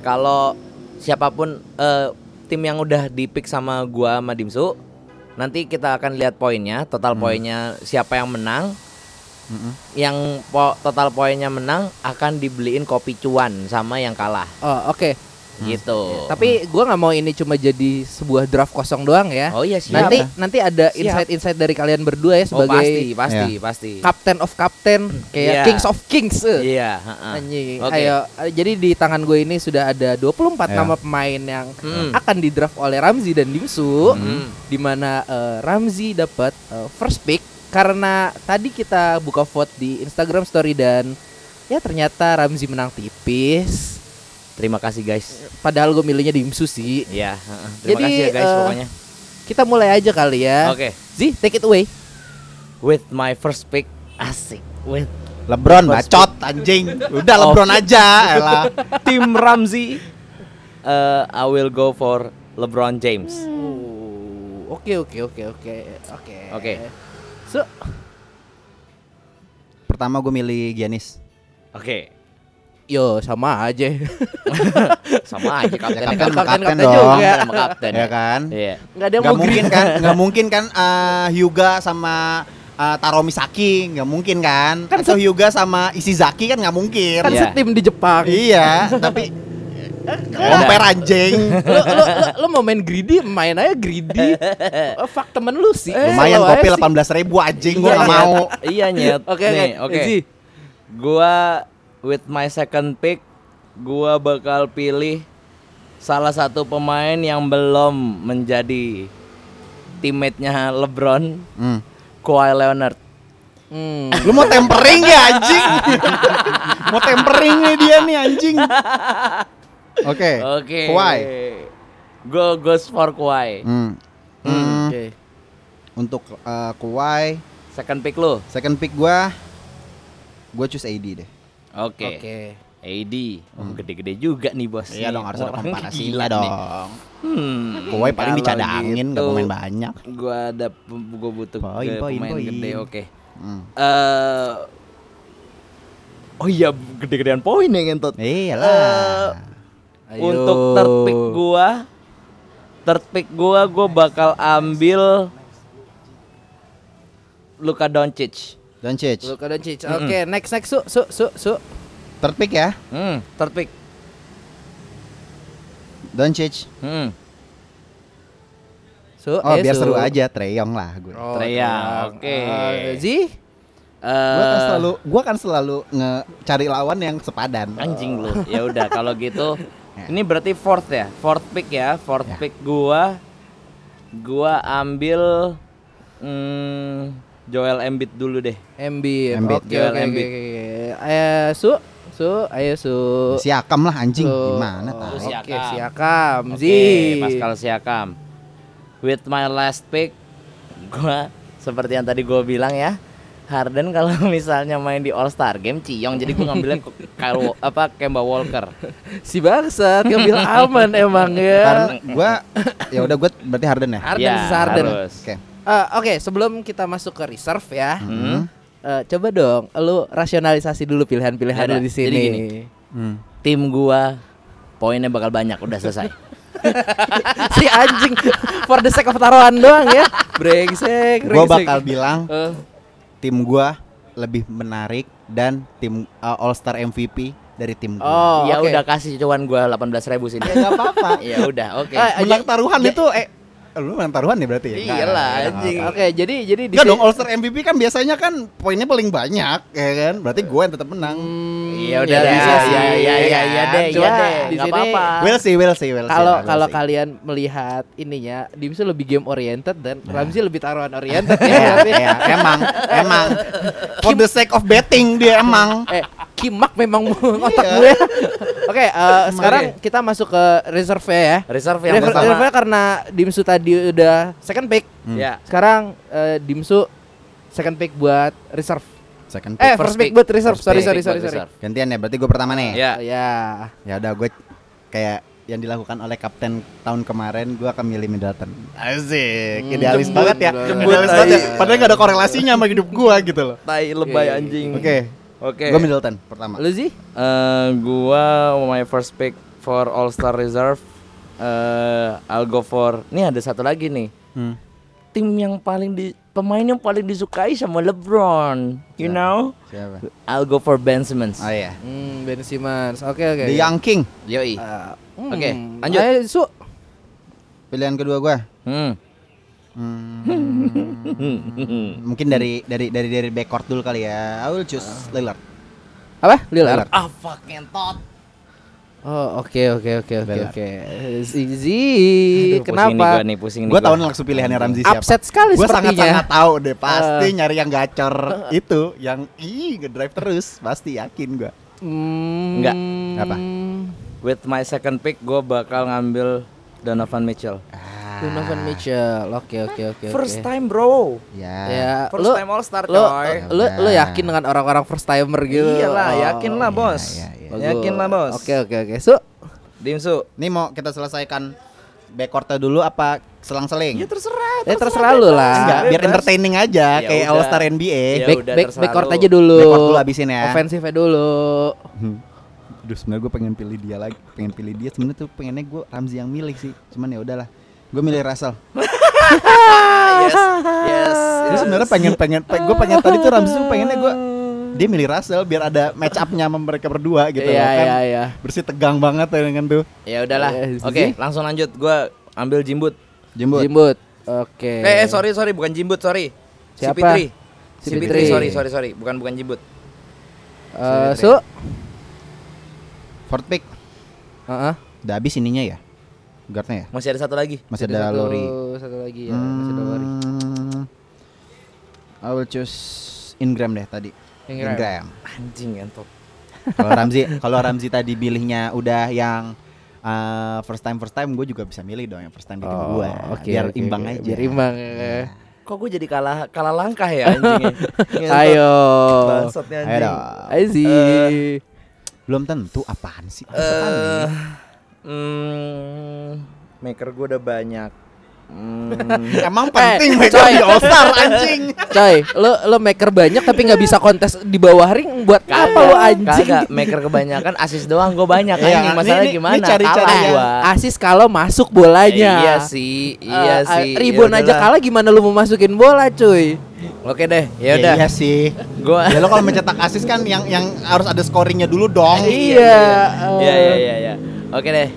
S3: kalau siapapun eh, tim yang udah dipick sama gua sama Dimsu nanti kita akan lihat poinnya total
S1: Hmm.
S3: poinnya siapa yang menang
S2: Mm-mm.
S3: yang po- total poinnya menang akan dibeliin kopi cuan sama yang kalah
S1: Oh, oke.
S3: gitu
S1: Tapi gua nggak mau ini cuma jadi sebuah draft kosong doang ya.
S3: oh iya siap
S1: Nanti
S3: oh
S1: nanti ada
S3: Siap.
S1: insight-insight dari kalian berdua
S3: pasti
S1: ya sebagai
S3: pasti pasti
S1: captain of captain
S3: Iya.
S1: kayak kings of kings. eh.
S3: iya heeh.
S1: Anjing.
S3: Oke.
S1: Ayo, eh, jadi di tangan gue ini sudah ada 24
S2: Iya.
S1: nama pemain yang
S3: Mm.
S1: akan di draft oleh Ramzi dan Dimsu
S3: Mm.
S1: di mana eh, Ramzi dapat eh, first pick karena tadi kita buka vote di Instagram story dan ya ternyata Ramzi menang tipis.
S3: terima kasih guys
S1: Padahal gue milihnya Dimsu sih.
S3: ya heeh. terima
S1: Jadi,
S3: kasih ya guys
S1: eh,
S3: pokoknya
S1: Kita mulai aja kali ya.
S3: oke
S1: Zi, take it away.
S3: with my first pick asik with
S2: Lebron
S3: First
S2: bacot anjing. Udah
S3: Oh.
S2: Lebron aja, elah.
S3: tim Ramzi eh, I will go for LeBron James
S1: Oh, Oke oke oke oke oke.
S3: Oke.
S1: So,
S2: Pertama gue milih Giannis.
S3: oke
S1: yo sama aja.
S3: sama aja
S2: Ya,
S3: kapten
S2: kapten,
S1: kapten,
S2: kapten,
S1: kapten
S2: dong.
S1: juga.
S3: sama kapten
S2: Ya kan?
S3: Iya.
S1: Enggak ada yang
S2: Gak
S1: mau
S2: mungkin
S1: green.
S2: kan, gak mungkin kan eh, Hyuga sama eh, Taro Misaki, gak mungkin kan?
S1: Kan
S2: Atau Hyuga sama Ishizaki kan gak mungkin.
S1: Kan
S3: Iya.
S1: setim di Jepang.
S2: Iya, tapi compare anjing.
S1: lo, lo, lo, lo mau main greedy, main aja greedy. Eh, fuck temen lu sih.
S2: Lumayan
S1: Lo
S2: kopi
S1: aja sih.
S2: 18 ribu anjing, gue
S3: Iya,
S2: gak
S3: Nyet.
S2: mau.
S3: iya nyet
S1: Oke
S3: Nih,
S1: oke.
S3: oke
S1: Zi,
S3: gua with my second pick, gua bakal pilih salah satu pemain yang belum menjadi teammate-nya LeBron,
S2: Hmm.
S3: Kawhi Leonard.
S1: Hmm.
S2: Lu mau tempering ya anjing? mau tempering nih dia nih anjing. Oke.
S3: Oke.
S2: Eh, Kawhi.
S3: Go goes for Kawhi.
S2: Hmm. Hmm.
S1: Oke.
S2: Untuk eh, Kawhi,
S3: Second pick lu.
S2: second pick gua gua choose AD deh.
S3: Oke.
S1: Oke.
S3: AD, Oh, gede-gede juga nih bos.
S2: Hmm. Iya dong harus ada
S3: Orangnya
S2: komparasinya
S3: gila nih.
S2: dong.
S3: Hmm.
S2: Kawhi paling
S3: kalau
S2: dicadangin nggak
S3: gitu,
S2: pemain banyak.
S3: Gua ada gua butuh
S2: Poin,
S3: ke
S2: poin,
S3: pemain
S2: poin.
S3: gede. Oke.
S2: Hmm.
S3: Eh, oh iya gede-gedean poin ya ngentot.
S2: Iya
S3: Eh,
S2: Iyalah.
S1: Ayo.
S3: Untuk third pick gua Third pick gua gua bakal ambil Luka Doncic.
S2: Doncic.
S1: Luka Doncic. Oke, next next su su su su.
S2: Third pick ya.
S3: Hmm, third pick.
S2: Doncic.
S3: Hmm.
S1: Su.
S2: Oh,
S1: eh,
S2: biar
S1: su.
S2: seru aja Treyong lah gue.
S1: Oh,
S3: Treyang, oke.
S1: Eh, Zi?
S2: Gua kan
S3: Eh,
S2: selalu gua kan selalu ngecari lawan yang sepadan.
S3: anjing lu. Ya udah kalau gitu ini berarti fourth ya. Fourth pick ya. Fourth pick gua gua ambil hmm, Joel Embiid dulu deh.
S1: Embiid.
S2: Embiid.
S1: Oke
S3: Joel
S1: oke oke,
S3: Embiid.
S1: oke. Eh su su ayo su.
S2: Siakam lah anjing.
S1: Su.
S2: Gimana
S1: Oh,
S3: Lu
S2: tahu.
S1: Oke,
S3: Siakam.
S1: Siakam.
S3: Oke,
S1: Zi.
S3: Pascal Siakam. With my last pick, gua seperti yang tadi gua bilang ya, Harden kalau misalnya main di All Star Game ciong, jadi gua ngambilnya ke- Kyle- apa Kemba Walker.
S1: Si bangsat ngambil aman emang
S2: Karena
S1: ya.
S2: gua ya udah gua berarti Harden ya.
S1: Harden
S3: Ya,
S1: is Harden.
S3: harus.
S2: Oke.
S1: Eh, Oke, sebelum kita masuk ke reserve ya,
S3: Hmm.
S1: eh, coba dong, lu rasionalisasi dulu pilihan-pilihan
S3: Ya
S1: lu
S3: udah,
S1: di
S3: jadi
S1: sini.
S3: gini.
S2: Hmm.
S3: Tim gua poinnya bakal banyak udah selesai.
S1: si anjing for the sake of taruhan doang ya. Brengsek,
S2: Gua
S1: brengsek.
S2: bakal bilang Ya,
S1: Eh,
S2: tim gua lebih menarik dan tim uh, All Star MVP dari tim gua.
S1: oh,
S3: ya
S1: oke.
S3: udah kasih cuan gua 18.000 ribu sini.
S2: Ya enggak apa-apa.
S3: ya udah, oke.
S1: Ah,
S2: Menang taruhan itu eh lu menang taruhan ya berarti ya? Enggak,
S3: Iyalah,
S2: enggak, enggak,
S3: anjing.
S1: Iya Oke, jadi jadi
S2: Enggak
S1: sini-
S2: dong All Star MVP kan biasanya kan poinnya paling banyak ya kan? Berarti gua yang tetap menang.
S3: Iya udah,
S1: ya,
S3: ya,
S1: bisa sih,
S3: ya, ya,
S1: ya
S3: ya,
S1: kan?
S3: ya deh,
S1: Cuma
S3: ya deh,
S1: di
S3: nggak
S1: sini-
S3: apa-apa.
S2: Will see, will see, will see.
S1: Kalau
S2: will
S1: kalau
S2: see.
S1: kalian melihat ininya, Dimsu lebih game oriented dan
S3: Ya.
S1: Ramzi lebih taruhan oriented ya.
S2: Iya,
S1: berarti.
S2: iya, emang, emang. For the sake of betting dia emang.
S1: Eh, kimak memang otak
S3: Iya.
S1: gue. Oke, eh, sekarang kita masuk ke reserve ya.
S3: Reserve yang
S1: Reserve,
S2: pertama.
S1: reserve karena Dimsu tadi udah second pick.
S3: Ya.
S1: Sekarang eh, Dimsu second pick buat reserve.
S2: Second
S1: Eh,
S2: pick.
S1: first
S3: first
S1: pick
S3: pick.
S1: buat reserve. Sorry,
S3: Pick
S1: sorry,
S3: buat
S1: sorry, sorry.
S3: reserve.
S2: Gantian ya, berarti gue pertama nih.
S3: Ya.
S1: Oh, ya.
S2: Ya udah gue kayak yang dilakukan oleh kapten tahun kemarin gue akan milih Middleton. Asik,
S1: Hmm,
S2: idealis
S1: jembut,
S2: banget ya.
S1: jembut.
S2: idealis banget ya.
S1: Iya.
S2: Padahal gak ada korelasinya sama hidup gue gitu loh.
S3: Tai
S1: lebay
S3: lebay
S1: anjing.
S3: anjing.
S2: Oke,
S3: Oke.
S2: gue Middleton pertama.
S1: Lu sih?
S3: Eh, gua my first pick for All Star Reserve. eh I'll go for. Nih ada satu lagi nih.
S2: Hmm.
S3: Tim yang paling di pemain yang paling disukai sama LeBron. You
S2: Siapa?
S3: know?
S2: Siapa?
S3: I'll go for Ben Simmons.
S2: Oh iya.
S1: Hmm, Ben Simmons. Oke, oke.
S2: The Young King,
S3: Yoi.
S1: Ah, hmm.
S3: Oke, lanjut.
S1: Ayo, Su.
S2: pilihan kedua gue.
S3: Hmm.
S2: Mungkin dari dari dari dari backcourt dulu kali ya. I will choose Lillard.
S1: Apa? Lillard.
S3: ah fucking tot.
S1: Oh, oke, oke, oke, oke,
S2: Lillard.
S1: oke. Zizi,
S3: Aduh, Pusing nih
S1: kenapa?
S3: gua nih, pusing nih.
S2: Gue
S3: gua.
S2: tahu langsung pilihannya Ramzi siapa.
S1: Upset sekali
S2: Gue sangat-sangat
S1: sepertinya. ya. Uh.
S2: tahu deh pasti nyari yang gacor itu, yang ih ngedrive terus pasti yakin gue.
S1: Hmm.
S3: Enggak.
S2: Apa?
S3: With my second pick, gua bakal ngambil Donovan Mitchell.
S1: Ah. Donovan Mitchell. Oke, oke,
S3: Ah,
S1: oke, oke.
S3: First time, bro.
S2: Ya.
S1: Ya,
S3: First
S1: lu
S3: time All Star,
S1: lu
S3: coy.
S1: lu, lu yakin dengan orang-orang first timer gitu.
S3: Iyalah,
S1: Oh,
S3: yakin lah, bos.
S2: iya, iya.
S1: bagus.
S3: Yakin lah, bos.
S1: Oke, oke, oke. Su.
S3: Dimsu.
S2: Ini mau kita selesaikan backcourtnya dulu apa
S3: Iya,
S2: selang-seling?
S3: Ya, terserah.
S1: Eh terserah lu
S2: Enggak,
S1: lah.
S2: biar entertaining aja
S3: Gitu. Ya
S2: kayak
S3: udah.
S2: All Star NBA.
S3: Ya
S1: Back
S3: udah,
S1: back
S3: terserah
S1: backcourt
S3: lu.
S1: aja dulu.
S2: Backcourt dulu abisin ya.
S1: Offensive-nya dulu.
S2: Hmm. Aduh sebenarnya gue pengen pilih dia lagi, pengen pilih dia. Sebenarnya tuh pengennya gue Ramzi yang milih sih, cuman ya udahlah. Gue milih Russell.
S3: yes. Ah, Yes.
S2: Gue sebenarnya pengen pengen gue pengen tadi tuh Ramzi tuh pengennya gue dia milih Russell biar ada match up-nya sama mereka berdua gitu
S1: Iya,
S2: loh, kan.
S1: iya, iya.
S2: Bersih tegang banget ya kan tuh.
S3: Ya udahlah.
S1: Eh, Zizi.
S3: Oke, langsung lanjut. Gua ambil Jimbut.
S2: Jembut.
S1: Jimbut. Oke.
S3: Eh, eh, sorry, sorry, bukan Jimbut, sorry.
S1: Siapa?
S3: CP3.
S1: CP3.
S3: CP3, sorry, sorry, sorry, bukan bukan Jimbut.
S1: Eh, Su.
S2: Gue Fourth pick
S1: Heeh.
S2: udah habis ininya ya. Guardnya ya.
S3: Masih ada satu lagi.
S2: Masih
S1: Jadi
S2: ada
S1: satu-
S2: Lori.
S1: Satu lagi ya, masih ada Lori.
S2: Hmm, I will choose Ingram deh tadi.
S1: Ingram.
S3: Anjing entot.
S2: Kalau Ramzi, kalau Ramzi tadi pilihnya udah yang uh, first time first time, gue juga bisa milih dong yang first time di tim
S1: Oh,
S2: gue.
S1: oke,
S2: biar
S1: oke,
S2: imbang
S1: oke.
S2: aja.
S1: Biar imbang. ya.
S3: Kok gue jadi kalah kalah langkah ya anjingnya? Ngentot.
S1: Ayo.
S3: Bangsatnya
S2: Ayo
S3: anjing.
S2: dong.
S1: Aziz.
S2: Belum tentu apaan sih? Apaan
S3: Eh,
S2: ini?
S3: hmm, maker gue udah banyak. Hmm,
S2: Emang
S1: eh,
S2: penting mereka
S1: coy.
S2: di All-Star, anjing.
S1: Coy, lo lo maker banyak tapi nggak bisa kontes di bawah ring buat apa lo anjing?
S3: Kagak, maker kebanyakan asis doang gue banyak
S2: Iya,
S3: anjing. Masalah
S2: ini- ini
S3: gimana?
S2: cari-cari
S3: kalah
S2: yang-
S3: gua.
S1: Asis kalau masuk bolanya.
S3: Iya sih, iya
S1: Eh, eh,
S3: sih.
S1: Ribon aja
S3: Yaudahlah.
S1: kalah gimana lu mau masukin bola, cuy?
S3: Oke deh, ya udah.
S2: Iya sih.
S3: Gua
S2: Ya lo kalau mencetak asis kan yang yang harus ada scoringnya dulu dong.
S1: Iya.
S3: Eh, Iya
S1: eh.
S3: iya iya iya. Oke deh.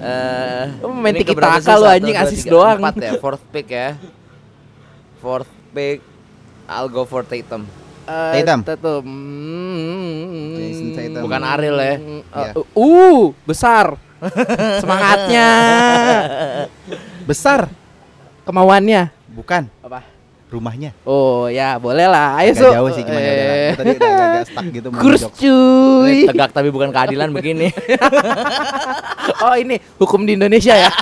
S3: Eh,
S1: Lu main
S3: ini
S1: tiki
S3: keberapa sih?
S1: taka lu,
S3: Satu,
S1: anjing,
S3: dua,
S1: assist
S3: tiga,
S1: doang.
S3: Empat ya, fourth pick ya. Fourth pick I'll go for Tatum.
S1: Eh,
S2: Tatum.
S1: Tatum. Hmm.
S2: Jason Tatum.
S3: Bukan Ariel ya?
S1: Eh, Uh, besar. Semangatnya,
S2: Besar.
S1: kemauannya.
S2: Bukan
S1: Apa?
S2: rumahnya.
S1: Oh ya boleh lah. Ayo
S2: Agak
S1: Su.
S2: jauh sih gimana udah lah.
S1: Eh,
S2: Gua Tadi udah agak stuck gitu mau
S1: Kurs
S2: jokes.
S1: cuy.
S3: Tegak tapi bukan keadilan begini.
S1: Oh ini hukum di Indonesia ya.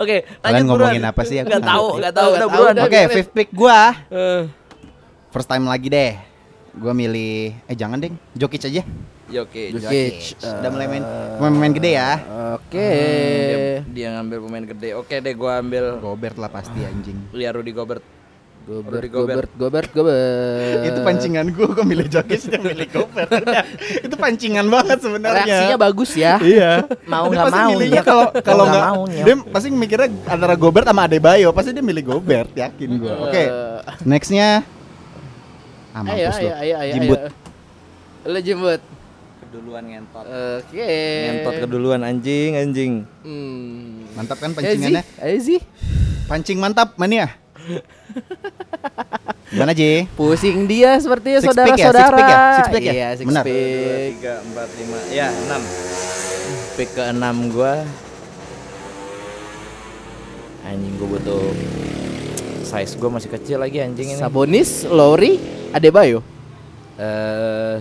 S3: Oke,
S2: Kalian ngomongin apa sih? Aku
S3: Gak
S2: nggak
S3: tahu,
S2: ngerti.
S3: gak tahu,
S1: Nggak
S3: udah
S1: tahu
S3: buruan.
S1: dah.
S2: Oke,
S1: biarin.
S2: fifth pick gua.
S1: Eh,
S2: First time lagi deh. Gua milih eh jangan deh, Jokic aja.
S3: Oke,
S1: Jokic.
S2: Udah mulai main main, main gede ya.
S1: Oke.
S3: dia, dia ngambil pemain gede. Oke deh, gua ambil
S2: Gobert lah pasti anjing.
S3: Lia Rudy Gobert.
S1: Gobert,
S3: Rudy
S1: Gobert,
S3: Gobert.
S1: Gobert, Gobert.
S2: Eh, Itu pancingan gua, gua milih Jokic dia milih Gobert. Udah, Itu pancingan banget sebenarnya.
S1: Reaksinya bagus ya.
S2: Iya.
S3: Mau
S2: Dia
S3: nggak
S2: pasti
S3: mau,
S2: milihnya
S3: Nyok.
S2: kalau
S3: Mau
S2: kalau
S3: nggak
S2: nggak
S3: mau, Nyok.
S2: dia pasti mikirnya antara Gobert sama Adebayo, pasti dia milih Gobert, yakin gua. Oke. Eh. Nextnya Ah,
S1: Eh, Ayo,
S2: mampus lu.
S1: ayo, ayo, ayo.
S2: Jimbut.
S1: ayo. Lu jimbut.
S3: Keduluan ngentot.
S1: Oke.
S3: Ngentot keduluan anjing, anjing.
S1: Hmm.
S3: Eh,
S2: Mantap kan
S1: Ayo, Zi.
S2: pancingannya?
S1: Ayo sih.
S2: Pancing mantap, mania. Gimana, Ji?
S1: Pusing dia sepertinya
S2: Six
S1: saudara
S2: pick ya, six
S1: saudara.
S2: pick ya, six pick ya?
S1: Iya, six
S2: Benar.
S3: dua
S1: pick.
S3: tiga empat lima ya enam pick ke enam gua anjing gua butuh size gua masih kecil lagi anjing ini
S1: Sabonis, Lowry, Adebayo.
S3: eh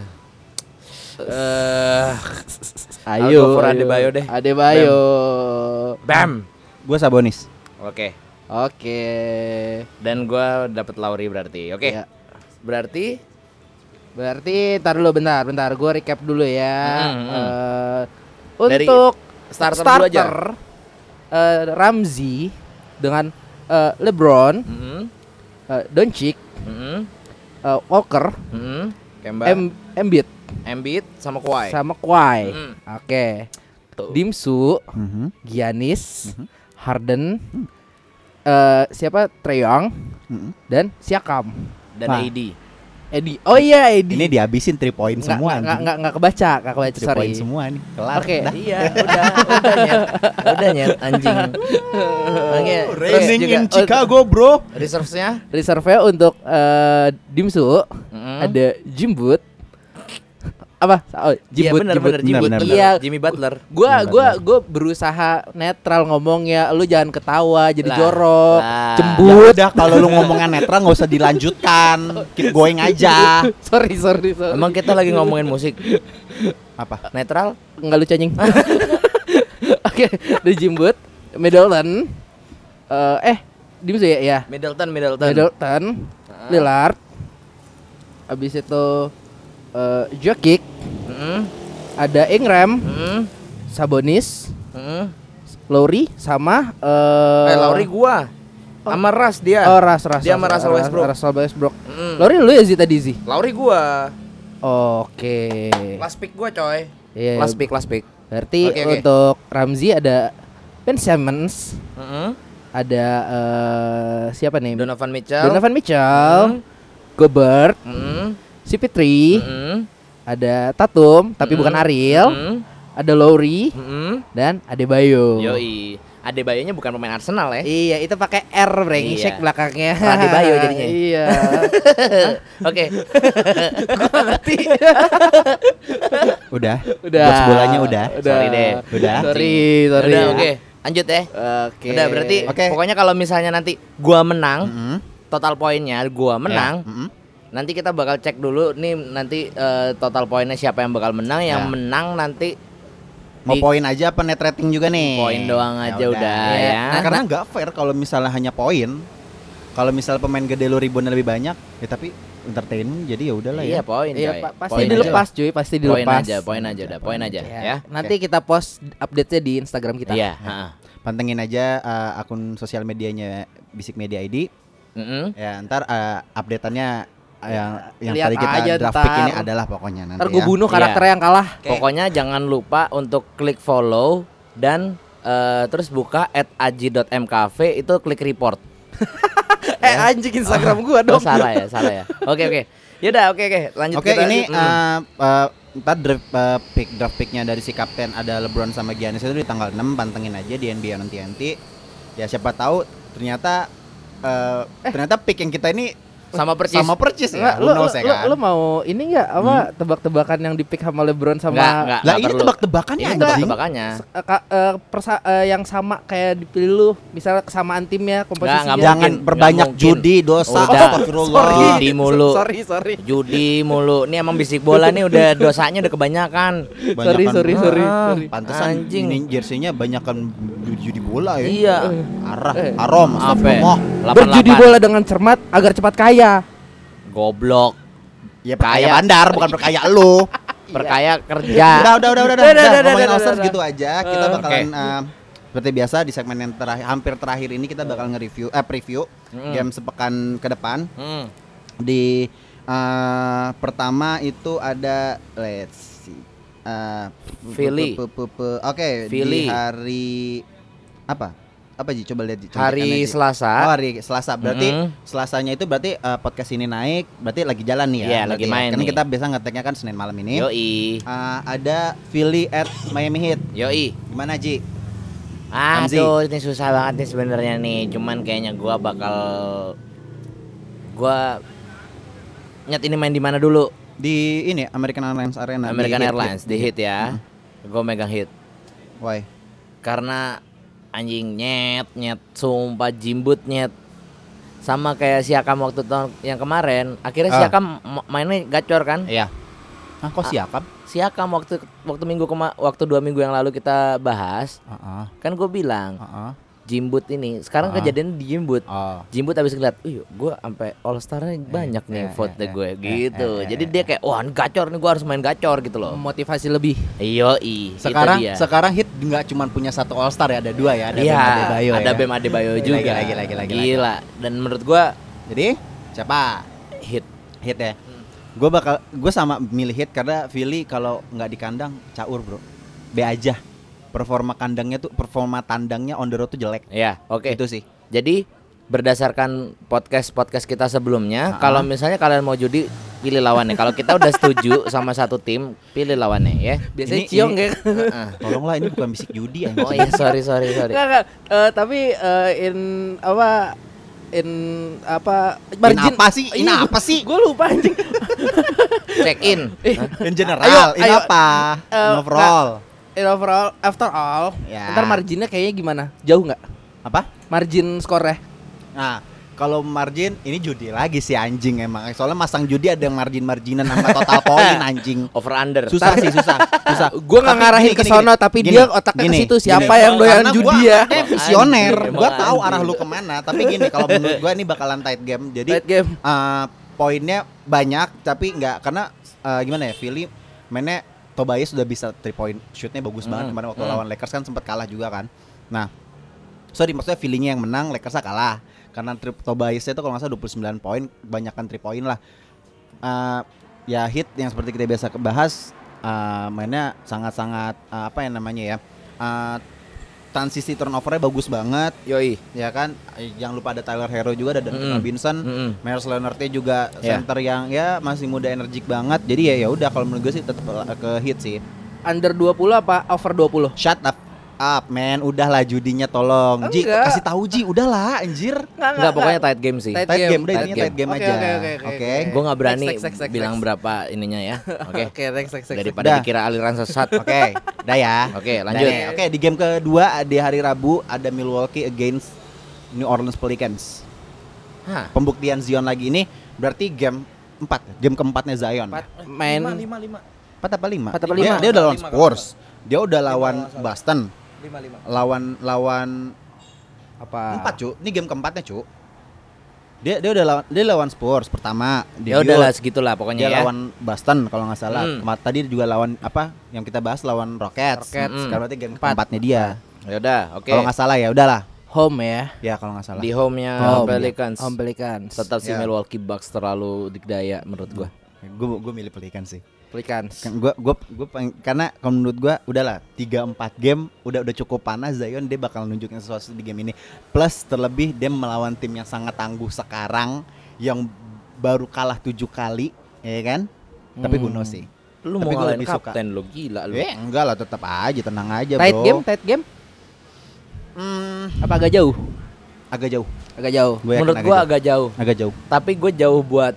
S3: eh go
S1: Ayo.
S3: for
S1: ayo.
S3: Adebayo deh.
S1: Adebayo.
S3: bam
S2: Gua Sabonis.
S3: oke
S1: Oke.
S3: dan gua dapet Lauri berarti oke
S1: Ya.
S3: berarti
S1: Berarti tar dulu bentar, bentar. Gue recap dulu ya.
S3: Mm, mm, mm.
S1: Eh,
S3: Dari
S1: untuk starter,
S3: starter dulu aja.
S1: eh, Ramzi dengan eh, LeBron,
S3: mm
S1: eh, Doncic,
S3: mm
S1: eh, Walker,
S3: mm Kemba
S1: Em- Embiid
S3: Embiid sama Kawhi
S1: sama Kwai.
S3: Mm.
S1: Oke.
S3: Tuh.
S1: Dimsu,
S2: Mhm.
S1: Giannis, Harden,
S2: Hmm.
S1: eh, siapa? Trae Young
S2: Mhm.
S1: dan Siakam.
S3: dan
S2: Nah.
S3: AD
S1: Edi. Oh iya, Edi.
S2: Ini dihabisin 3 point
S1: Nggak-
S2: semua.
S1: nggak
S2: anjing.
S1: nggak nggak kebaca, nggak kebaca.
S2: Three
S1: Sorry.
S2: point semua nih. Kelar.
S1: Oke.
S2: dah.
S3: Iya, udah, udah nyet, udah nyet anjing. Oke, terus
S2: Raining
S3: juga Oh,
S2: in Chicago, bro.
S3: reservesnya
S1: Reserve untuk eh, Dimsu ada Jimbut apa oh,
S3: Iya
S1: Jimbut
S3: benar
S1: Jimbut.
S3: benar Jimmy
S2: Benar, benar,
S3: Butler.
S1: benar. Iya.
S3: Jimmy Butler.
S1: Gua
S2: Jimmy
S1: gua gua berusaha netral ngomong ya, lu jangan ketawa jadi
S3: Lah,
S1: jorok,
S3: lah.
S2: Ya
S1: cembut.
S2: udah kalau lu ngomongan netral nggak usah dilanjutkan. Keep going aja.
S1: sorry sorry sorry.
S3: Emang kita lagi ngomongin musik
S2: Apa?
S3: netral?
S1: nggak lucu anjing. Oke, ada Jimbut, Middleton eh, eh Dimsu ya ya.
S3: Middleton, Middleton.
S1: Middleton,
S3: Ah.
S1: Lillard. Habis itu eh Jokic,
S3: Mm-mm,
S1: ada Ingram,
S3: mm-mm,
S1: Sabonis,
S3: mm-mm.
S1: Lowry sama eh
S3: Eh, Lauri gua. Sama Ras dia.
S1: Oh, Ras Ras.
S3: Dia
S1: Ras,
S3: sama
S1: Ras,
S3: Russell
S1: Ras,
S3: Westbrook.
S1: Russell Westbrook.
S3: Mm.
S1: Lowry lu ya Zi tadi Zi.
S3: Lauri gua.
S1: Oke.
S3: Last pick gua, coy.
S1: Iya,
S3: Last pick, last pick.
S1: Berarti
S3: Oke, oke.
S1: untuk Ramzi ada Ben Simmons,
S3: Mm-mm.
S1: ada eh siapa nih?
S3: Donovan Mitchell.
S1: Donovan Mitchell,
S3: Hmm.
S1: Gobert,
S3: Mm-mm,
S1: CP3,
S3: mm-mm,
S1: ada Tatum tapi bukan
S3: Hmm.
S1: Ariel,
S3: mm-mm,
S1: ada Lowry
S3: mm-mm.
S1: dan Adebayo.
S3: Yoi. Adebayonya bukan pemain Arsenal ya.
S1: Iya, itu pakai R
S3: Iya.
S1: brengsek belakangnya.
S3: Adebayo jadinya.
S1: iya.
S3: Oke.
S1: Ngerti.
S2: Udah.
S1: Udah.
S2: Box bolanya udah.
S1: udah.
S3: Sorry deh.
S2: Udah.
S1: Sorry, sorry. Iya,
S3: Udah, oke. Lanjut ya.
S1: Oke.
S3: Udah, berarti
S2: Oke.
S3: pokoknya kalau misalnya nanti gua menang,
S2: Mm-mm.
S3: total poinnya gua menang,
S2: Mm-mm.
S3: nanti kita bakal cek dulu nih nanti eh, total poinnya siapa yang bakal menang, yang
S2: Ya.
S3: menang nanti
S2: Mau
S3: Di-
S2: poin aja apa net rating juga nih?
S3: Poin doang aja udah, ya.
S2: Nah, karena nggak fair kalau misalnya hanya poin. Kalau misalnya pemain gede lu ribuan lebih banyak, ya tapi entertainment jadi ya udahlah
S3: iya
S2: ya.
S3: poin
S1: Iya,
S3: coy.
S1: pa- pasti
S3: Poin aja.
S1: dilepas cuy, pasti
S3: Poin
S1: dilepas.
S3: aja, poin aja udah, poin aja
S1: Ya,
S3: ya.
S1: Nanti kita post update-nya di Instagram kita.
S3: Iya, heeh.
S2: Pantengin aja uh, akun sosial medianya Bisik Media ID.
S3: Mm-mm.
S2: Ya, ntar uh, updateannya uh, yang yang
S1: Lihat
S2: tadi kita
S1: aja
S2: draft
S1: ntar.
S2: pick ini adalah pokoknya nanti.
S1: Ntar gue
S3: Iya.
S2: ya.
S1: bunuh karakter yang kalah.
S3: Pokoknya jangan lupa untuk klik follow dan eh, terus buka at aji.mkv itu klik report.
S1: eh anjing Instagram gue
S3: Oh,
S1: dong.
S3: salah ya, salah ya. Oke oke. Yaudah oke oke lanjut
S2: Oke,
S3: kita.
S2: ini
S3: Mm.
S2: uh,
S1: Hmm.
S2: uh, ntar draft uh, pick draft picknya dari si kapten ada LeBron sama Giannis itu di tanggal 6 pantengin aja di NBA nanti nanti. Ya siapa tahu ternyata uh, ternyata pick yang kita ini
S3: sama persis.
S2: sama percis
S1: Eh. Nggak,
S2: ya.
S1: lu,
S2: Who
S1: lu,
S2: knows ya
S1: lu,
S2: kan? Hmm.
S1: lu mau ini nggak apa tebak-tebakan yang di pick sama LeBron sama
S3: Nggak, nggak,
S2: lah
S3: nggak
S2: ini
S3: perlu.
S2: tebak-tebakan ya
S3: Ini
S2: anjing.
S3: tebakannya.
S1: se- eh, ka- eh, persa- eh, yang sama kayak dipilih lu, misalnya kesamaan timnya, komposisinya.
S3: nggak
S2: Jangan
S3: Nggak
S2: berbanyak
S3: mungkin.
S2: judi dosa.
S3: Udah.
S2: Astagfirullah.
S3: Sorry. Judi mulu.
S1: Sorry, sorry.
S3: Judi mulu. Ini emang bisik bola nih udah dosanya udah kebanyakan.
S2: Banyakan
S1: Sorry, sorry,
S2: bener.
S1: sorry.
S3: Ah.
S1: sorry.
S2: Pantesan
S3: Anjing.
S2: ini jersinya banyakan judi, judi bola ya.
S3: Iya.
S2: Arah,
S1: Eh.
S3: Apa?
S2: haram,
S3: ya?
S2: astagfirullah.
S3: 88.
S1: Berjudi bola dengan cermat agar cepat kaya.
S2: Iya.
S3: Goblok.
S2: Ya
S3: Kaya.
S2: perkaya bandar bukan perkaya lu.
S3: Perkaya kerja.
S2: Udah, udah, udah, udah, udah,
S1: Udah,
S2: udah,
S1: udah, udah,
S2: ngomongin
S1: udah,
S2: All Stars
S1: udah.
S2: gitu aja. Kita
S1: Eh,
S2: bakalan eh, seperti biasa di segmen yang terakhir, hampir terakhir ini kita bakal nge-review, eh preview
S3: Mm.
S2: game sepekan ke depan.
S3: Hmm.
S2: Di eh, pertama itu ada let's see. eh,
S3: Philly.
S2: pe- pe- pe- pe- Oke,
S3: Philly.
S2: di hari apa? Apa Ji? Coba lihat Ji, contekannya,
S3: Hari
S2: Ji. Oh,
S3: Selasa.
S2: hari Selasa. Berarti
S3: Mm.
S2: Selasanya itu berarti eh, podcast ini naik, berarti lagi jalan nih ya.
S3: Iya,
S2: berarti
S3: lagi main
S2: Karena
S3: nih.
S2: kita biasa ngeteknya kan Senin malam ini.
S3: Yoi.
S2: Uh, ada Philly at Miami Heat.
S3: Yoi.
S2: Gimana Ji? Ramzi.
S3: Aduh, ini susah banget nih sebenarnya nih. Cuman kayaknya gua bakal gua nyet ini main di mana dulu?
S2: Di ini American Airlines Arena. Nah, di
S3: American
S2: Heat,
S3: Airlines di hit ya. Gua megang hit
S2: Ji. Why?
S3: karena anjing nyet nyet sumpah jimbut nyet sama kayak Siakam waktu tahun yang kemarin akhirnya
S2: Ah.
S3: Siakam ma- mainnya gacor kan
S2: Iya. Ah, kok siakap?
S3: Siakam waktu waktu minggu kema- waktu dua minggu yang lalu kita bahas
S2: Heeh.
S3: kan gue bilang
S2: Heeh.
S3: jimbut ini sekarang
S2: Ah.
S3: kejadian di jimbut
S2: Oh.
S3: Jimbut abis ngeliat, wih gue sampai all star-nya banyak nih
S2: iya,
S3: vote
S2: iya,
S3: gue
S2: iya,
S3: gitu.
S2: iya, iya,
S3: Jadi
S2: iya. Hmm.
S3: dia kayak, wah gacor nih gue harus main gacor gitu loh.
S1: Motivasi lebih.
S3: Yoi, itu
S2: Sekarang
S3: dia.
S2: sekarang Heat nggak cuma punya satu All Star ya, ada dua ya, ada
S3: Iya,
S2: Bam Adebayo
S3: ada
S2: ya.
S3: Bam Adebayo
S2: Lagi,
S3: juga.
S2: lagi, lagi, lagi,
S3: Gila. Dan menurut gue
S2: Jadi siapa?
S3: hit.
S2: Heat ya.
S3: Hmm.
S2: Gue bakal gue sama milih Heat karena Philly kalau nggak di kandang caur, Bro. B aja. Performa kandangnya tuh performa tandangnya on the road tuh jelek.
S3: Ya, oke.
S2: Itu sih.
S3: Jadi berdasarkan podcast podcast kita sebelumnya, kalau misalnya kalian mau judi pilih lawannya. kalau kita udah setuju sama satu tim, pilih lawannya ya.
S1: Biasanya
S2: Ini-
S1: ciong
S2: ini-
S1: ya.
S3: Heeh.
S2: Tolonglah ini bukan bisik judi ya.
S3: oh iya, sorry sorry sorry.
S1: Nggak, nggak. Eh, tapi eh, in apa in apa
S2: In apa sih? In apa sih?
S1: Gue lupa anjing.
S3: Check in.
S1: Eh,
S2: In general,
S1: Ayo,
S2: ini
S1: ayo.
S2: apa?
S1: Eh,
S2: In overall.
S1: in overall after all,
S2: Ya.
S1: ntar marginnya kayaknya gimana? Jauh nggak?
S2: Apa?
S1: Margin skornya?
S2: Nah, kalau margin ini judi lagi sih anjing emang. Soalnya masang judi ada yang margin-marginan sama total poin anjing.
S3: Over under.
S2: Susah sih, susah. Susah.
S1: Gue nggak
S2: Tapi
S1: ngarahin
S2: gini,
S1: ke
S2: gini,
S1: sono,
S2: gini.
S1: tapi
S2: Gini,
S1: dia otaknya ke
S2: gini,
S1: situ. Siapa
S2: gini.
S1: yang doyan
S2: Karena
S1: judi
S2: gua
S1: ya?
S2: anaknya visioner.
S3: Anjing,
S2: Gua
S3: emang
S2: tahu
S3: anjing.
S2: arah lu kemana. Tapi gini, kalau menurut gua ini bakalan tight game. Jadi
S1: Tight game.
S2: eh, poinnya banyak tapi nggak karena eh, gimana ya Philly mainnya Tobias sudah bisa three point shootnya bagus banget
S3: Hmm,
S2: kemarin waktu
S3: hmm.
S2: lawan Lakers kan sempat kalah juga kan nah sorry maksudnya feelingnya yang menang Lakersnya kalah karena trip Tobiasnya itu kalau nggak salah 29 poin kebanyakan three point lah Eh, ya hit yang seperti kita biasa bahas eh, mainnya sangat-sangat eh, apa yang namanya ya eh, transisi turnovernya bagus banget
S3: Yoi.
S2: ya kan Eh, jangan lupa ada Tyler Hero juga ada Duncan
S3: Mm-mm.
S2: Robinson
S3: Mm-mm.
S2: Myers Leonardnya juga
S3: Ya.
S2: center yang ya masih muda energik banget. Jadi eh, ya ya udah kalau menurut gue sih tetap ke hit sih.
S1: Under 20 apa over 20?
S2: Shut up. up, men. Udahlah judinya tolong. Ji,
S1: Oh, Enggak.
S2: kasih tahu Ji, udahlah anjir.
S3: Enggak pokoknya tight game sih.
S1: Tight
S2: Tight
S1: game,
S2: game, udah
S3: tight
S2: intinya
S3: game.
S2: tight game
S1: Oke,
S2: aja.
S1: oke, oke, oke,
S2: Oke.
S1: oke.
S3: Gue nggak berani
S1: Next, next, next,
S3: bilang
S1: next.
S3: berapa ininya ya. Oke.
S1: Oke, next, next, next.
S3: Daripada
S2: Dah.
S3: dikira aliran sesat. Oke,
S2: Oke, udah ya.
S3: lanjut.
S2: Dah ya. Oke, di game kedua di hari Rabu ada Milwaukee against New Orleans Pelicans.
S3: Hah.
S2: Pembuktian Zion lagi ini berarti game 4, game keempatnya Zion.
S1: Empat, main
S3: lima lima
S2: 4 apa 5?
S1: Empat apa
S2: Dia,
S1: lima?
S2: dia udah lawan
S3: Lima,
S2: Spurs. Dia udah lawan
S3: kalau nggak salah.
S2: Boston,
S3: lima lima.
S2: lawan lawan
S1: apa?
S2: 4, Cuk. Ini game keempatnya, Cuk. Dia dia udah lawan dia lawan Spurs pertama.
S3: Ya
S2: debut.
S3: udahlah segitulah pokoknya
S2: Dia
S3: ya.
S2: lawan Boston kalau nggak salah.
S3: Hmm.
S2: Kemar- Tadi juga lawan apa? Yang kita bahas lawan Rockets.
S1: Rockets.
S2: Mm. Sekarang berarti game
S1: Empat.
S2: keempatnya dia.
S3: Ya udah, oke.
S2: Kalau nggak salah ya udahlah.
S1: Home ya.
S2: Ya kalau nggak salah.
S3: Di home-nya
S1: Home.
S3: Pelicans.
S1: Home Pelicans.
S3: Tetap si
S2: Ya.
S3: Milwaukee Bucks terlalu dikdaya menurut gua.
S2: Gue gue milih Pelikan sih.
S1: Pelicans.
S2: Gue gue gue karena kalau menurut gue udahlah 3 4 game udah udah cukup panas Zion dia bakal nunjukin sesuatu di game ini. Plus terlebih dia melawan tim yang sangat tangguh sekarang yang baru kalah 7 kali, ya kan? Tapi
S1: Hmm.
S2: Guno sih.
S3: Lu
S2: Tapi
S3: mau
S2: gua
S3: ngalahin
S2: lebih suka.
S3: kapten lu gila lu.
S2: Eh, enggak lah tetap aja tenang aja,
S1: Tight
S2: Iya, Bro.
S1: game, tight game.
S2: Hmm,
S1: Apa agak jauh?
S2: agak jauh.
S1: Agak jauh.
S2: Gua yakin
S3: menurut
S2: agak
S3: gua
S2: jauh.
S3: agak jauh,
S2: agak jauh.
S3: tapi gua jauh buat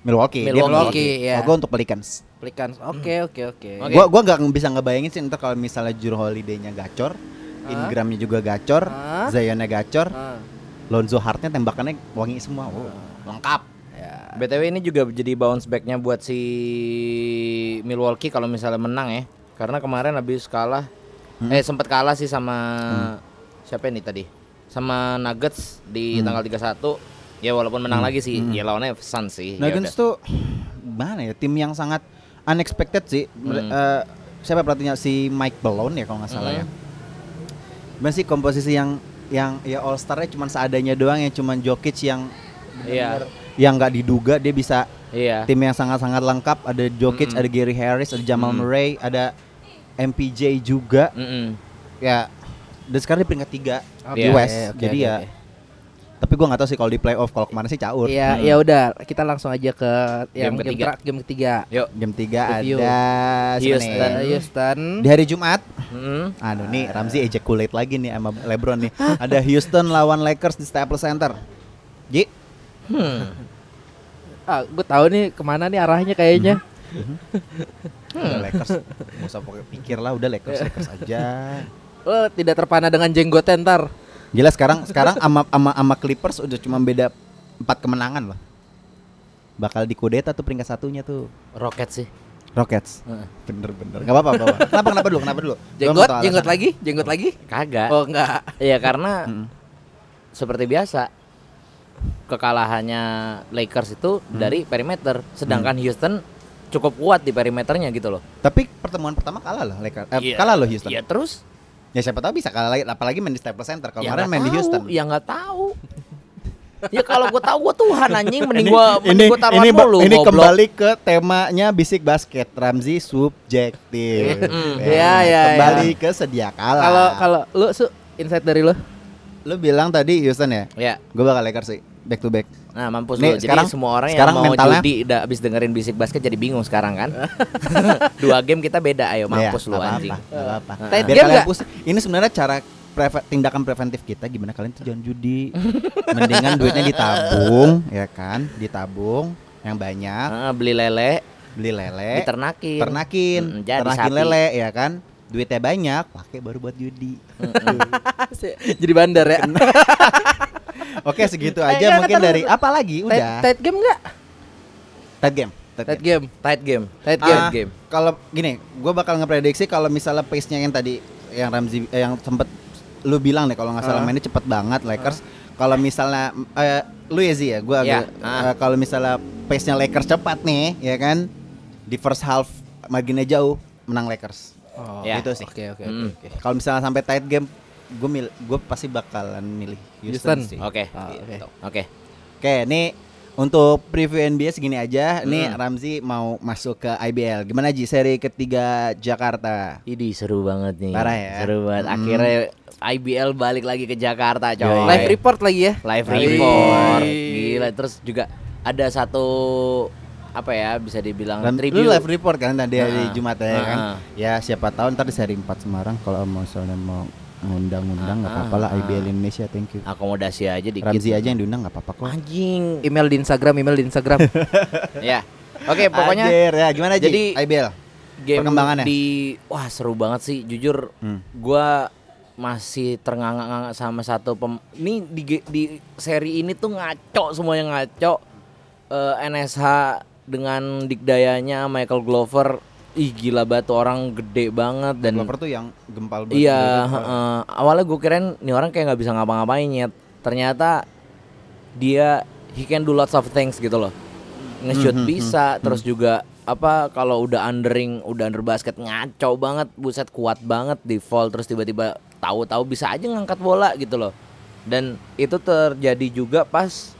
S2: Milwaukee. dia
S3: Milwaukee,
S1: ya.
S2: Kalau gue untuk Pelicans.
S1: Pelicans.
S2: Hmm.
S1: Oke, oke, oke.
S3: Oke.
S2: Gue gua nggak bisa ngebayangin sih ntar kalau misalnya Juru Holiday-nya gacor, Ingramnya juga gacor,
S1: Hah?
S2: Zion-nya gacor,
S1: Ah.
S2: Lonzo Hart-nya tembakannya wangi semua. Oh, lengkap.
S3: BTW ini juga jadi bounce back-nya buat si Milwaukee kalau misalnya menang ya. Karena kemarin habis kalah eh sempat kalah sih sama siapa ini tadi? Sama Nuggets di tanggal 31. Ya walaupun menang lagi sih, ya lawannya Suns sih. ya
S2: Nuggets Nah, tuh mana ya tim yang sangat unexpected sih. Mere- eh, siapa pelatihnya si Mike Malone ya kalau nggak salah ya. Gimana sih komposisi yang yang ya All Star-nya cuma seadanya doang yang cuma Jokic yang
S3: udah. Iya.
S2: yang nggak diduga dia bisa
S3: Iya.
S2: tim yang sangat-sangat lengkap ada Jokic,
S3: Mm-mm.
S2: ada Gary Harris, ada Jamal
S3: Mm-mm.
S2: Murray, ada MPJ juga.
S3: Mm-mm.
S2: Ya dan sekarang di peringkat 3 di
S3: Oke,
S2: West.
S1: oke,
S2: Jadi
S1: oke,
S2: ya
S1: oke.
S2: tapi gua nggak tahu sih kalau di playoff kalau kemarin sih caur.
S1: Ya, ya udah, kita langsung aja ke
S3: Game
S1: yang game,
S3: ketiga.
S1: tra- game ketiga.
S3: Yuk.
S2: Game 3
S1: Review.
S2: ada siapa nih?
S3: Houston.
S1: Eh, Houston.
S2: Di hari Jumat,
S3: Mm-mm.
S2: aduh nih Ramzi ejaculate lagi nih sama LeBron nih. Ada Houston lawan Lakers di Staples Center. Ji,
S3: Hmm.
S1: Ah, gue tahu nih kemana nih arahnya kayaknya. Hmm.
S2: udah Lakers. Enggak usah pakai pikir lah, udah Lakers Lakers aja.
S1: Lo Eh, tidak terpana dengan jenggot ya, ntar.
S2: Gila sekarang sekarang ama ama ama Clippers udah cuma beda empat kemenangan loh. Bakal dikudeta tuh peringkat satunya tuh
S3: Roket sih.
S2: Rockets.
S3: Heeh.
S2: Bener-bener. Gak apa-apa, gak apa-apa. Kenapa kenapa dulu? Kenapa dulu? Gua mau
S1: Jenggot,
S2: tahu
S1: jenggot
S2: alasan.
S1: lagi, jenggot lagi.
S3: Kagak.
S1: Oh enggak.
S3: Ya karena
S2: Mm-mm.
S3: seperti biasa kekalahannya Lakers itu dari perimeter, sedangkan Houston cukup kuat di perimeternya gitu loh.
S2: Tapi pertemuan pertama kalah loh Lakers. Eh,
S3: Iya.
S2: Kalah loh Houston.
S3: Ya terus
S2: Ya siapa tahu bisa kalah lagi apalagi main di Staples Center. Kalau
S3: ya
S2: kemarin
S3: nggak
S2: main di
S3: tahu,
S2: Houston.
S3: Ya nggak tahu. ya kalau gue tahu gue Tuhan anjing mending gue
S2: ini
S3: mending gue taruhan
S2: ini,
S3: mulu
S2: ini
S3: goblok.
S2: kembali ke temanya bisik basket Ramzi subjektif.
S3: Mm.
S1: Ya, ya,
S2: Kembali ke sedia kalah.
S1: Kalau kalau lu su insight dari lu.
S2: lu bilang tadi Houston ya,
S3: Ya,
S2: gue bakal Lakers sih back to back.
S3: nah mampus
S2: Nih,
S3: lu. Jadi
S2: sekarang-
S3: semua orang yang
S2: sekarang
S3: mau
S2: mentalnya-
S3: judi udah abis dengerin bisik basket jadi bingung sekarang kan. Dua game kita beda, ayo
S2: Iya,
S3: mampus lu anjing. Nah,
S2: Apa apa.
S1: Tight game
S2: Biar kalian
S1: nggak?
S2: pusing. Ini sebenarnya cara preve- tindakan preventif kita gimana kalian tuh jangan judi. Mendingan duitnya ditabung, ya kan? Ditabung yang banyak,
S3: Ah, beli lele,
S2: beli lele,
S3: diternakin.
S2: ternakin,
S3: Mm, jadi
S2: ternakin
S3: sapi.
S2: lele, ya kan? Duitnya banyak, pakai baru buat judi.
S1: Jadi bandar ya.
S2: Oke, segitu
S1: Eh,
S2: aja
S1: nggak,
S2: mungkin
S1: ntar,
S2: dari
S1: ntar.
S2: apa lagi?
S1: Tight,
S2: Udah.
S1: tight game enggak?
S2: Tight game. Tight
S1: Tight
S2: game.
S1: game.
S3: Tight game.
S1: Tight
S2: Ah,
S1: game.
S3: Tight game.
S2: Kalau gini, gue bakal ngeprediksi kalau misalnya pace-nya yang tadi yang Ramzi eh, yang sempet lu bilang deh kalau nggak salah
S1: Ah.
S2: mainnya cepet banget Lakers. Kalau misalnya eh, lu ya Zi ya, gue
S3: Ya, ah.
S2: kalau misalnya pace-nya Lakers cepat nih, ya kan? Di first half marginnya jauh, menang Lakers.
S1: Oh,
S3: Ya.
S2: gitu sih.
S1: Oke, oke,
S3: Mm.
S1: oke.
S2: Kalau misalnya sampai tight game, gue mil, gue pasti bakalan milih Houston,
S1: Houston.
S2: sih.
S3: Oke. Gitu.
S1: Ah, oke.
S3: Oke.
S2: Oke, ini untuk preview NBA segini aja. Nih
S3: Hmm.
S2: Ramzi mau masuk ke IBL. Gimana Ji seri ketiga Jakarta?
S3: Ini seru banget nih.
S2: Parah ya.
S3: Seru banget.
S2: Hmm.
S3: Akhirnya IBL balik lagi ke Jakarta, coy.
S2: Yoi.
S1: Live report lagi ya.
S3: Live
S2: Live
S3: report.
S1: report.
S3: Gila, terus juga ada satu apa ya bisa dibilang
S2: Dan
S3: tribute.
S2: Lu live report kan tadi hari
S3: Ah,
S2: Jumat ya
S3: ah,
S2: kan.
S3: ah.
S2: Ya siapa tahu ntar di seri 4 Semarang kalau mau soalnya mau ngundang-ngundang nggak
S3: Ah,
S2: apa-apa lah
S3: ah,
S2: IBL Indonesia thank you.
S3: akomodasi aja dikit
S2: Ramzi aja yang diundang nggak apa-apa kok.
S3: anjing
S1: Email di Instagram, email di Instagram.
S3: ya oke pokoknya
S2: Ajer, ya gimana Ji?
S3: jadi-
S2: IBL.
S3: game
S2: Perkembangannya.
S3: di wah seru banget sih jujur
S2: Hmm.
S3: gua masih ternganga-nganga sama satu pem ini di ge- di seri ini tuh ngaco semuanya ngaco Eh, NSH dengan dikdayanya Michael Glover ih gila banget tuh orang gede banget dan
S2: Glover tuh yang gempal banget.
S3: Iya,
S2: Gempal.
S3: heeh. awalnya gue kirain nih orang kayak nggak bisa ngapa-ngapain nyet. Ternyata dia he can do lots of things gitu loh. Nge-shoot
S2: Mhm,
S3: bisa, terus juga apa kalau udah undering, udah under basket ngaco banget, buset kuat banget di fall terus tiba-tiba tahu-tahu bisa aja ngangkat bola gitu loh. Dan itu terjadi juga pas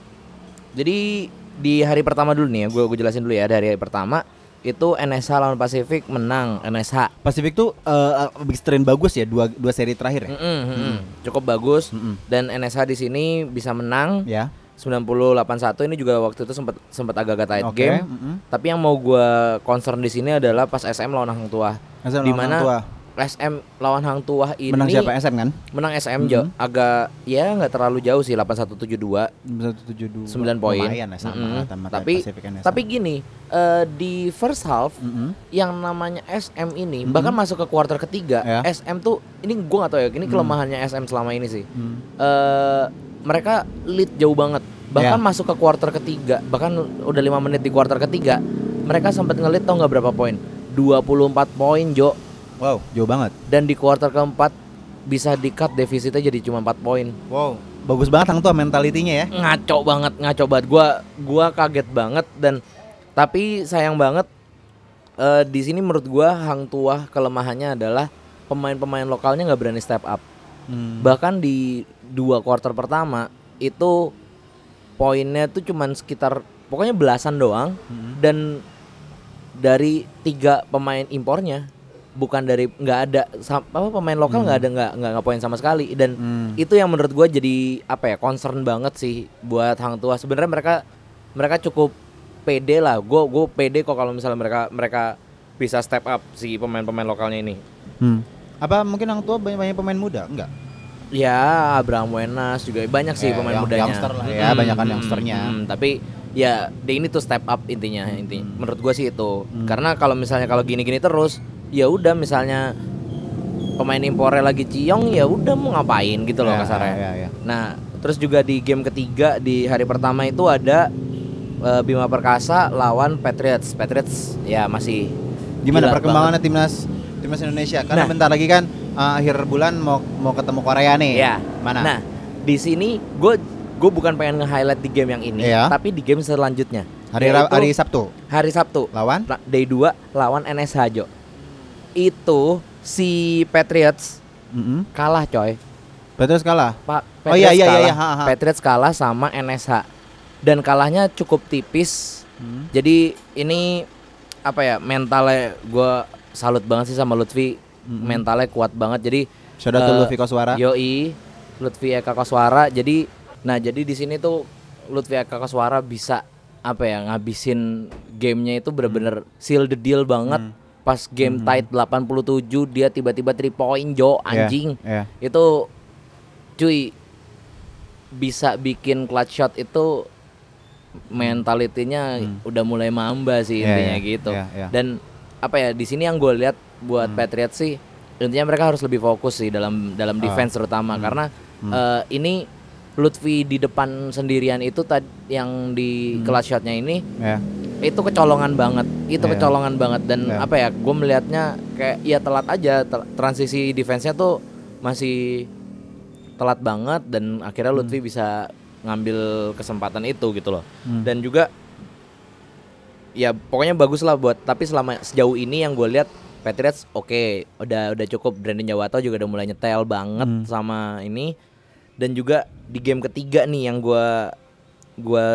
S3: jadi di hari pertama dulu nih ya, gue jelasin dulu ya dari hari pertama itu NSH lawan Pasifik menang NSH
S2: Pacific tuh eh, big strain bagus ya dua dua seri terakhir ya.
S3: Mm-mm, mm-mm. Cukup bagus
S2: Mm-mm.
S3: dan NSH di sini bisa menang
S2: Ya.
S3: 98-1 ini juga waktu itu sempat sempat agak-agak tight
S2: Oke,
S3: game.
S2: mm-mm.
S3: Tapi yang mau gua concern di sini adalah pas SM lawan Hang Tuah.
S2: SM lawan
S3: Di mana
S2: Hang Tuah.
S3: SM lawan Hang Tuah ini
S2: Menang siapa Mm-hmm. SM kan?
S3: menang SM jauh agak ya nggak terlalu jauh sih 8172
S2: 172.
S3: 9 poin.
S2: Lumayan ya sama
S3: Mm-mm.
S2: lah, sama kayak
S3: Tapi
S2: Pacific NSM.
S3: tapi gini, eh, di first half
S2: Mm-mm.
S3: yang namanya SM ini
S2: Mhm.
S3: bahkan masuk ke quarter ketiga
S2: Ya.
S3: SM tuh ini gua nggak tahu ya ini kelemahannya SM selama ini sih
S2: Mm.
S3: eh mereka lead jauh banget bahkan
S2: Ya.
S3: masuk ke quarter ketiga bahkan udah lima menit di quarter ketiga mereka sempat ngelit tau nggak berapa poin 24 poin Jo
S2: Wow, jauh banget.
S3: dan di quarter keempat bisa di cut defisitnya jadi cuma 4 poin
S2: Wow, bagus banget Hang Tuah mentalitinya ya.
S3: ngaco banget ngaco banget gua gua kaget banget dan tapi sayang banget eh, di sini menurut gua Hang Tuah kelemahannya adalah pemain-pemain lokalnya nggak berani step up
S2: Hmm.
S3: bahkan di dua quarter pertama itu poinnya tuh cuman sekitar pokoknya belasan doang
S2: Mm.
S3: dan dari tiga pemain impornya bukan dari nggak ada sam- apa pemain lokal nggak ada nggak nggak nggak poin sama sekali dan
S2: Hmm.
S3: itu yang menurut gua jadi apa ya concern banget sih buat hang tua sebenarnya mereka mereka cukup pede lah gue gue pede kok kalau misalnya mereka mereka bisa step up si pemain-pemain lokalnya ini
S2: Hmm. Apa mungkin Hang Tuah banyak banyak pemain muda? Enggak.
S3: Ya, Abraham Wenas juga banyak sih
S2: Ya,
S3: pemain
S2: yang-
S3: mudanya.
S2: youngster lah ya,
S3: Mm-mm,
S2: banyakan
S3: mm-mm,
S2: youngsternya.
S3: mm-mm. tapi ya dia ini tuh step up intinya, intinya.
S2: Mm.
S3: Menurut gua sih itu.
S2: Mm.
S3: Karena kalau misalnya kalau gini-gini terus, ya udah misalnya pemain impornya lagi ciong, ya udah mau ngapain gitu loh
S2: Ya,
S3: kasarnya.
S2: ya, ya.
S3: Nah, terus juga di game ketiga di hari pertama itu ada eh, Bima Perkasa lawan Patriots. Patriots ya masih
S2: Gimana
S3: gila
S2: perkembangannya timnas timnas Indonesia? Karena
S3: Nah.
S2: bentar lagi kan uh, akhir bulan mau mau ketemu Korea nih.
S3: Ya.
S2: Mana?
S3: Nah, di sini gue gue bukan pengen nge-highlight di game yang ini,
S2: Iya.
S3: tapi di game selanjutnya.
S2: hari Ra-
S3: yaitu
S2: hari Sabtu
S3: hari Sabtu,
S2: lawan
S3: la- day 2 lawan NSH Jo. Itu si Patriots
S2: mm
S3: kalah coy.
S2: Patriots kalah.
S3: Pa-
S2: oh
S3: Patriots
S2: iya iya iya
S3: kalah.
S2: iya, ha, ha.
S3: Patriots kalah sama NSH. Dan kalahnya cukup tipis.
S2: Hmm.
S3: Jadi ini apa ya, mentalnya gua salut banget sih sama Lutfi.
S2: Mm-mm.
S3: Mentalnya kuat banget. Jadi
S2: Shout out to
S3: Eh,
S2: Luffy Koswara. Ya,
S3: Yoi, Lutfi Eka Koswara. Jadi, nah jadi di sini tuh Lutfi Eka Koswara bisa apa ya ngabisin gamenya itu
S2: Hmm.
S3: bener-bener seal the deal banget. Pas game tight 87 dia tiba-tiba 3 point jo
S2: Iya,
S3: anjing.
S2: iya.
S3: Itu cuy bisa bikin clutch shot itu mentalitinya udah mulai mamba sih
S2: Iya,
S3: intinya
S2: iya,
S3: gitu.
S2: iya, iya.
S3: Dan apa ya di sini yang gue lihat buat Patriots sih intinya mereka harus lebih fokus sih dalam dalam defense terutama karena eh, ini Lutfi di depan sendirian itu tadi yang di kelas shotnya ini
S2: Ya.
S3: itu kecolongan banget itu
S2: Iya.
S3: kecolongan banget dan
S2: Iya.
S3: apa ya gue melihatnya kayak ya telat aja ter- transisi defense-nya tuh masih telat banget dan akhirnya Lutfi bisa ngambil kesempatan itu gitu loh
S2: Hmm.
S3: dan juga ya pokoknya bagus lah buat tapi selama sejauh ini yang gue lihat Patriots oke udah udah cukup Brandon Jawato juga udah mulai nyetel banget
S2: Hmm.
S3: sama ini dan juga di game ketiga nih yang gue gue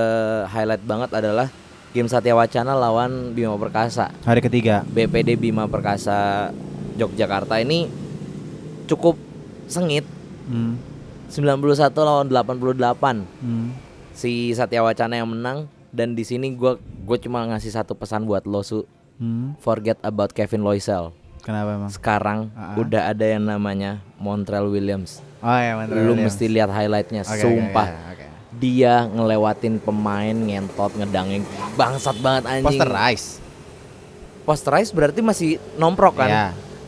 S3: highlight banget adalah game Satya Wacana lawan Bima Perkasa
S2: Hari ketiga.
S3: BPD Bima Perkasa Yogyakarta ini cukup sengit Mm.
S2: Hmm.
S3: 91 lawan 88
S2: Hmm.
S3: si Satya Wacana yang menang Dan di sini gua gue cuma ngasih satu pesan buat lo su,
S2: Hmm,
S3: forget about Kevin Loisel.
S2: kenapa emang?
S3: Sekarang
S2: Ah.
S3: udah ada yang namanya Montreal Williams.
S2: Oh ya, Montreal
S3: Lu
S2: Williams.
S3: mesti lihat highlightnya,
S2: Oke, oke,
S3: sumpah.
S2: oke, oke.
S3: Dia ngelewatin pemain ngentot ngedangin bangsat banget anjing.
S2: Posterize.
S3: Posterize berarti masih nomprok kan?
S2: Iya.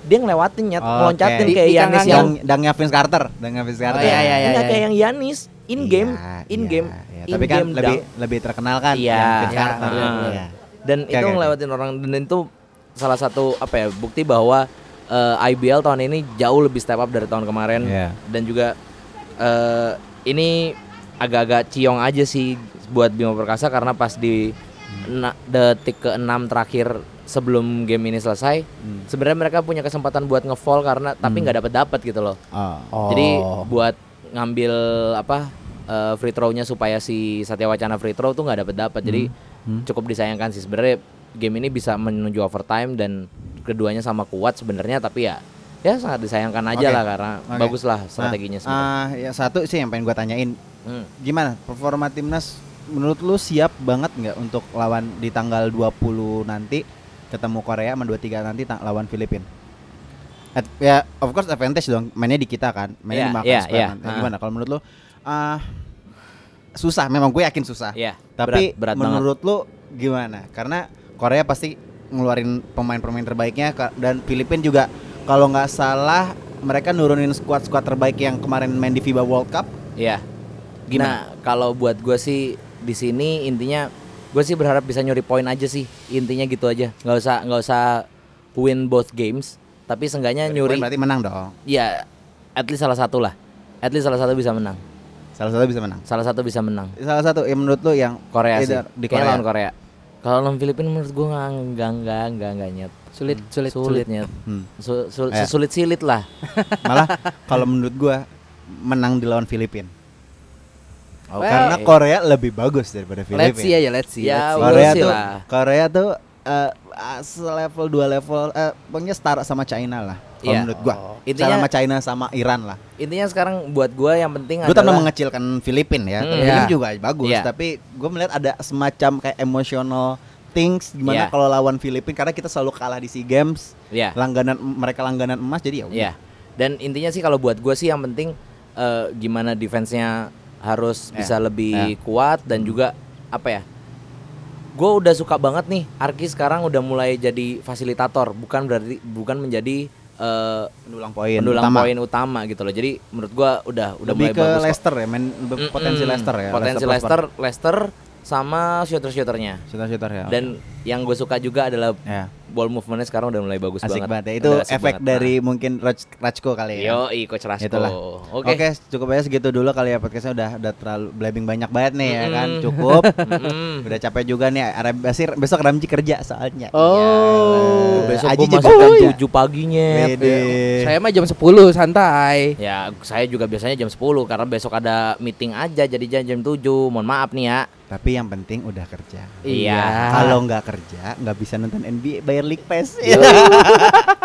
S3: Dia ngelewatin nyet,
S2: Oke.
S3: ngeloncatin
S1: Di-
S3: kayak
S1: di
S3: Yanis
S1: kangangnya.
S3: yang
S2: Dang, dangnya Vince Carter, dangnya Vince
S3: Oh,
S2: Carter.
S1: iya, iya,
S3: Enggak kayak yang Yanis in game,
S2: Iya,
S3: in
S2: iya,
S3: game,
S2: iya.
S3: in
S2: Tapi kan
S3: game
S2: lebih
S3: dunk.
S2: lebih terkenal kan
S3: Iya.
S2: yang Vince
S1: Iya,
S2: Carter.
S3: benar, benar.
S2: Iya.
S3: dan
S2: Oke,
S3: itu
S2: oke, oke.
S3: ngelewatin orang dan itu salah satu apa ya bukti bahwa eh, IBL tahun ini jauh lebih step up dari tahun kemarin
S2: Iya.
S3: dan juga eh, ini agak-agak ciong aja sih buat Bima Perkasa karena pas di
S2: Hmm.
S3: na- detik ke enam terakhir sebelum game ini selesai
S2: Hmm.
S3: sebenarnya mereka punya kesempatan buat nge-fall karena tapi nggak dapat dapat gitu loh
S2: Oh.
S3: Jadi buat ngambil apa eh, free throw-nya supaya si Satya Wacana free throw tuh nggak dapat dapat. Jadi
S2: Hmm.
S3: cukup disayangkan sih sebenarnya game ini bisa menuju overtime dan keduanya sama kuat sebenarnya tapi ya ya sangat disayangkan aja
S2: Oke.
S3: lah karena
S2: Oke.
S3: baguslah strateginya sebenarnya.
S2: Ah, ya satu sih yang pengen gua tanyain,
S3: Hmm.
S2: gimana performa timnas menurut lu siap banget nggak untuk lawan di tanggal 20 nanti ketemu Korea sama 23 nanti ta- lawan Filipina? At- ya of course advantage dong mainnya di kita kan
S3: Iya,
S2: mainnya di Makan
S3: iya,
S2: Square
S3: iya.
S2: kan. Ya,
S3: Ah.
S2: gimana kalau menurut lu ah, susah memang gue yakin susah
S3: Ya,
S2: tapi
S3: berat, berat banget.
S2: menurut lu gimana karena Korea pasti ngeluarin pemain-pemain terbaiknya ka- dan Filipina juga kalau nggak salah mereka nurunin squad-squad terbaik yang kemarin main di FIBA World Cup
S3: Iya.
S2: gimana
S3: Nah, kalau buat gue sih di sini intinya gue sih berharap bisa nyuri poin aja sih. Intinya gitu aja. Nggak usah nggak usah win both games, tapi seenggaknya
S2: Poin
S3: nyuri
S2: berarti menang dong
S3: ya at least salah satu lah. At least salah satu bisa menang.
S2: Salah satu bisa menang.
S3: Salah satu bisa menang.
S2: Salah satu yang menurut lu yang
S3: Korea sih.
S2: Either di
S3: Kayaknya
S2: Korea.
S3: lawan Korea. Kalau lawan Filipina menurut gua nggak nggak nggak nggak nggak nyet.
S1: Sulit, sulit,
S3: Sulit
S1: sulit.
S3: nyet.
S2: Hmm.
S3: Su- sul-
S2: Eh.
S3: Sesulit silit lah.
S2: malah kalau menurut gua menang di lawan Filipina.
S1: Oke.
S2: Karena
S3: Eh,
S2: Korea lebih bagus daripada
S1: Let's see
S2: Filipina.
S1: aja, let's see.
S3: Ya,
S1: let's see.
S3: we'll
S2: Korea
S3: see
S2: tuh
S3: lah.
S2: Korea tuh eh, ah, selevel dua level eh pokoknya setara sama China lah. Kalau
S3: Iya.
S2: menurut gua.
S3: Intinya-
S2: sama China sama Iran lah.
S3: Intinya sekarang buat gua yang penting
S2: Gue tanpa
S3: adalah
S2: mengecilkan Filipina ya.
S3: Hmm.
S2: tapi
S1: Iya.
S2: Filipina juga bagus,
S3: Iya.
S2: tapi gue melihat ada semacam kayak emotional things
S3: Iya.
S2: gimana kalau lawan Filipina karena kita selalu kalah di SEA Games,
S3: ya
S2: langganan mereka langganan emas jadi ya udah.
S3: ya. Dan intinya sih kalau buat gua sih yang penting eh, gimana defense-nya harus
S2: Ya.
S3: bisa lebih kuat dan juga apa ya? Gue udah suka banget nih Arki sekarang udah mulai jadi fasilitator, bukan berarti bukan menjadi eh,
S2: pendulang poin
S3: pendulang
S2: utama.
S3: poin utama gitu loh. Jadi menurut gua udah udah mulai
S2: lebih ke
S3: bagus kok.
S2: Leicester ya, main lebih
S3: Mm-mm.
S2: potensi Leicester ya.
S3: Potensi Leicester, Leicester sama shooter-shooternya.
S2: Shooter-shooter ya.
S3: Dan yang gue suka juga adalah
S2: ya.
S3: ball movementnya sekarang udah mulai bagus banget.
S2: asik banget. ya. Itu
S3: Udah asik
S2: efek
S3: banget.
S2: dari mungkin Raj- Rajko
S3: Nah,
S2: kali ya.
S3: Yo, i coach Rasko.
S2: Itulah.
S3: Oke. Eh,
S2: Oke, cukup aja segitu dulu kali ya podcastnya udah udah terlalu blabbing banyak banget nih ya kan.
S3: Mm-mm.
S2: Cukup.
S3: Mm-mm.
S2: udah capek juga nih. Arab Basir besok Ramji kerja soalnya.
S1: Oh,
S2: Iyalah.
S3: Besok
S2: Eh, Aji ya?
S3: gue
S2: juga
S3: masuk jam
S2: kerja.
S3: 7 paginya.
S2: Wede.
S1: Saya mah jam 10 santai.
S3: Ya, saya juga biasanya jam 10 karena besok ada meeting aja jadi jam 7. Mohon maaf nih ya.
S2: Tapi yang penting udah kerja.
S3: Iya. Iya.
S2: Kalau nggak kerja nggak bisa nonton NBA bayar league pass.
S3: Yo.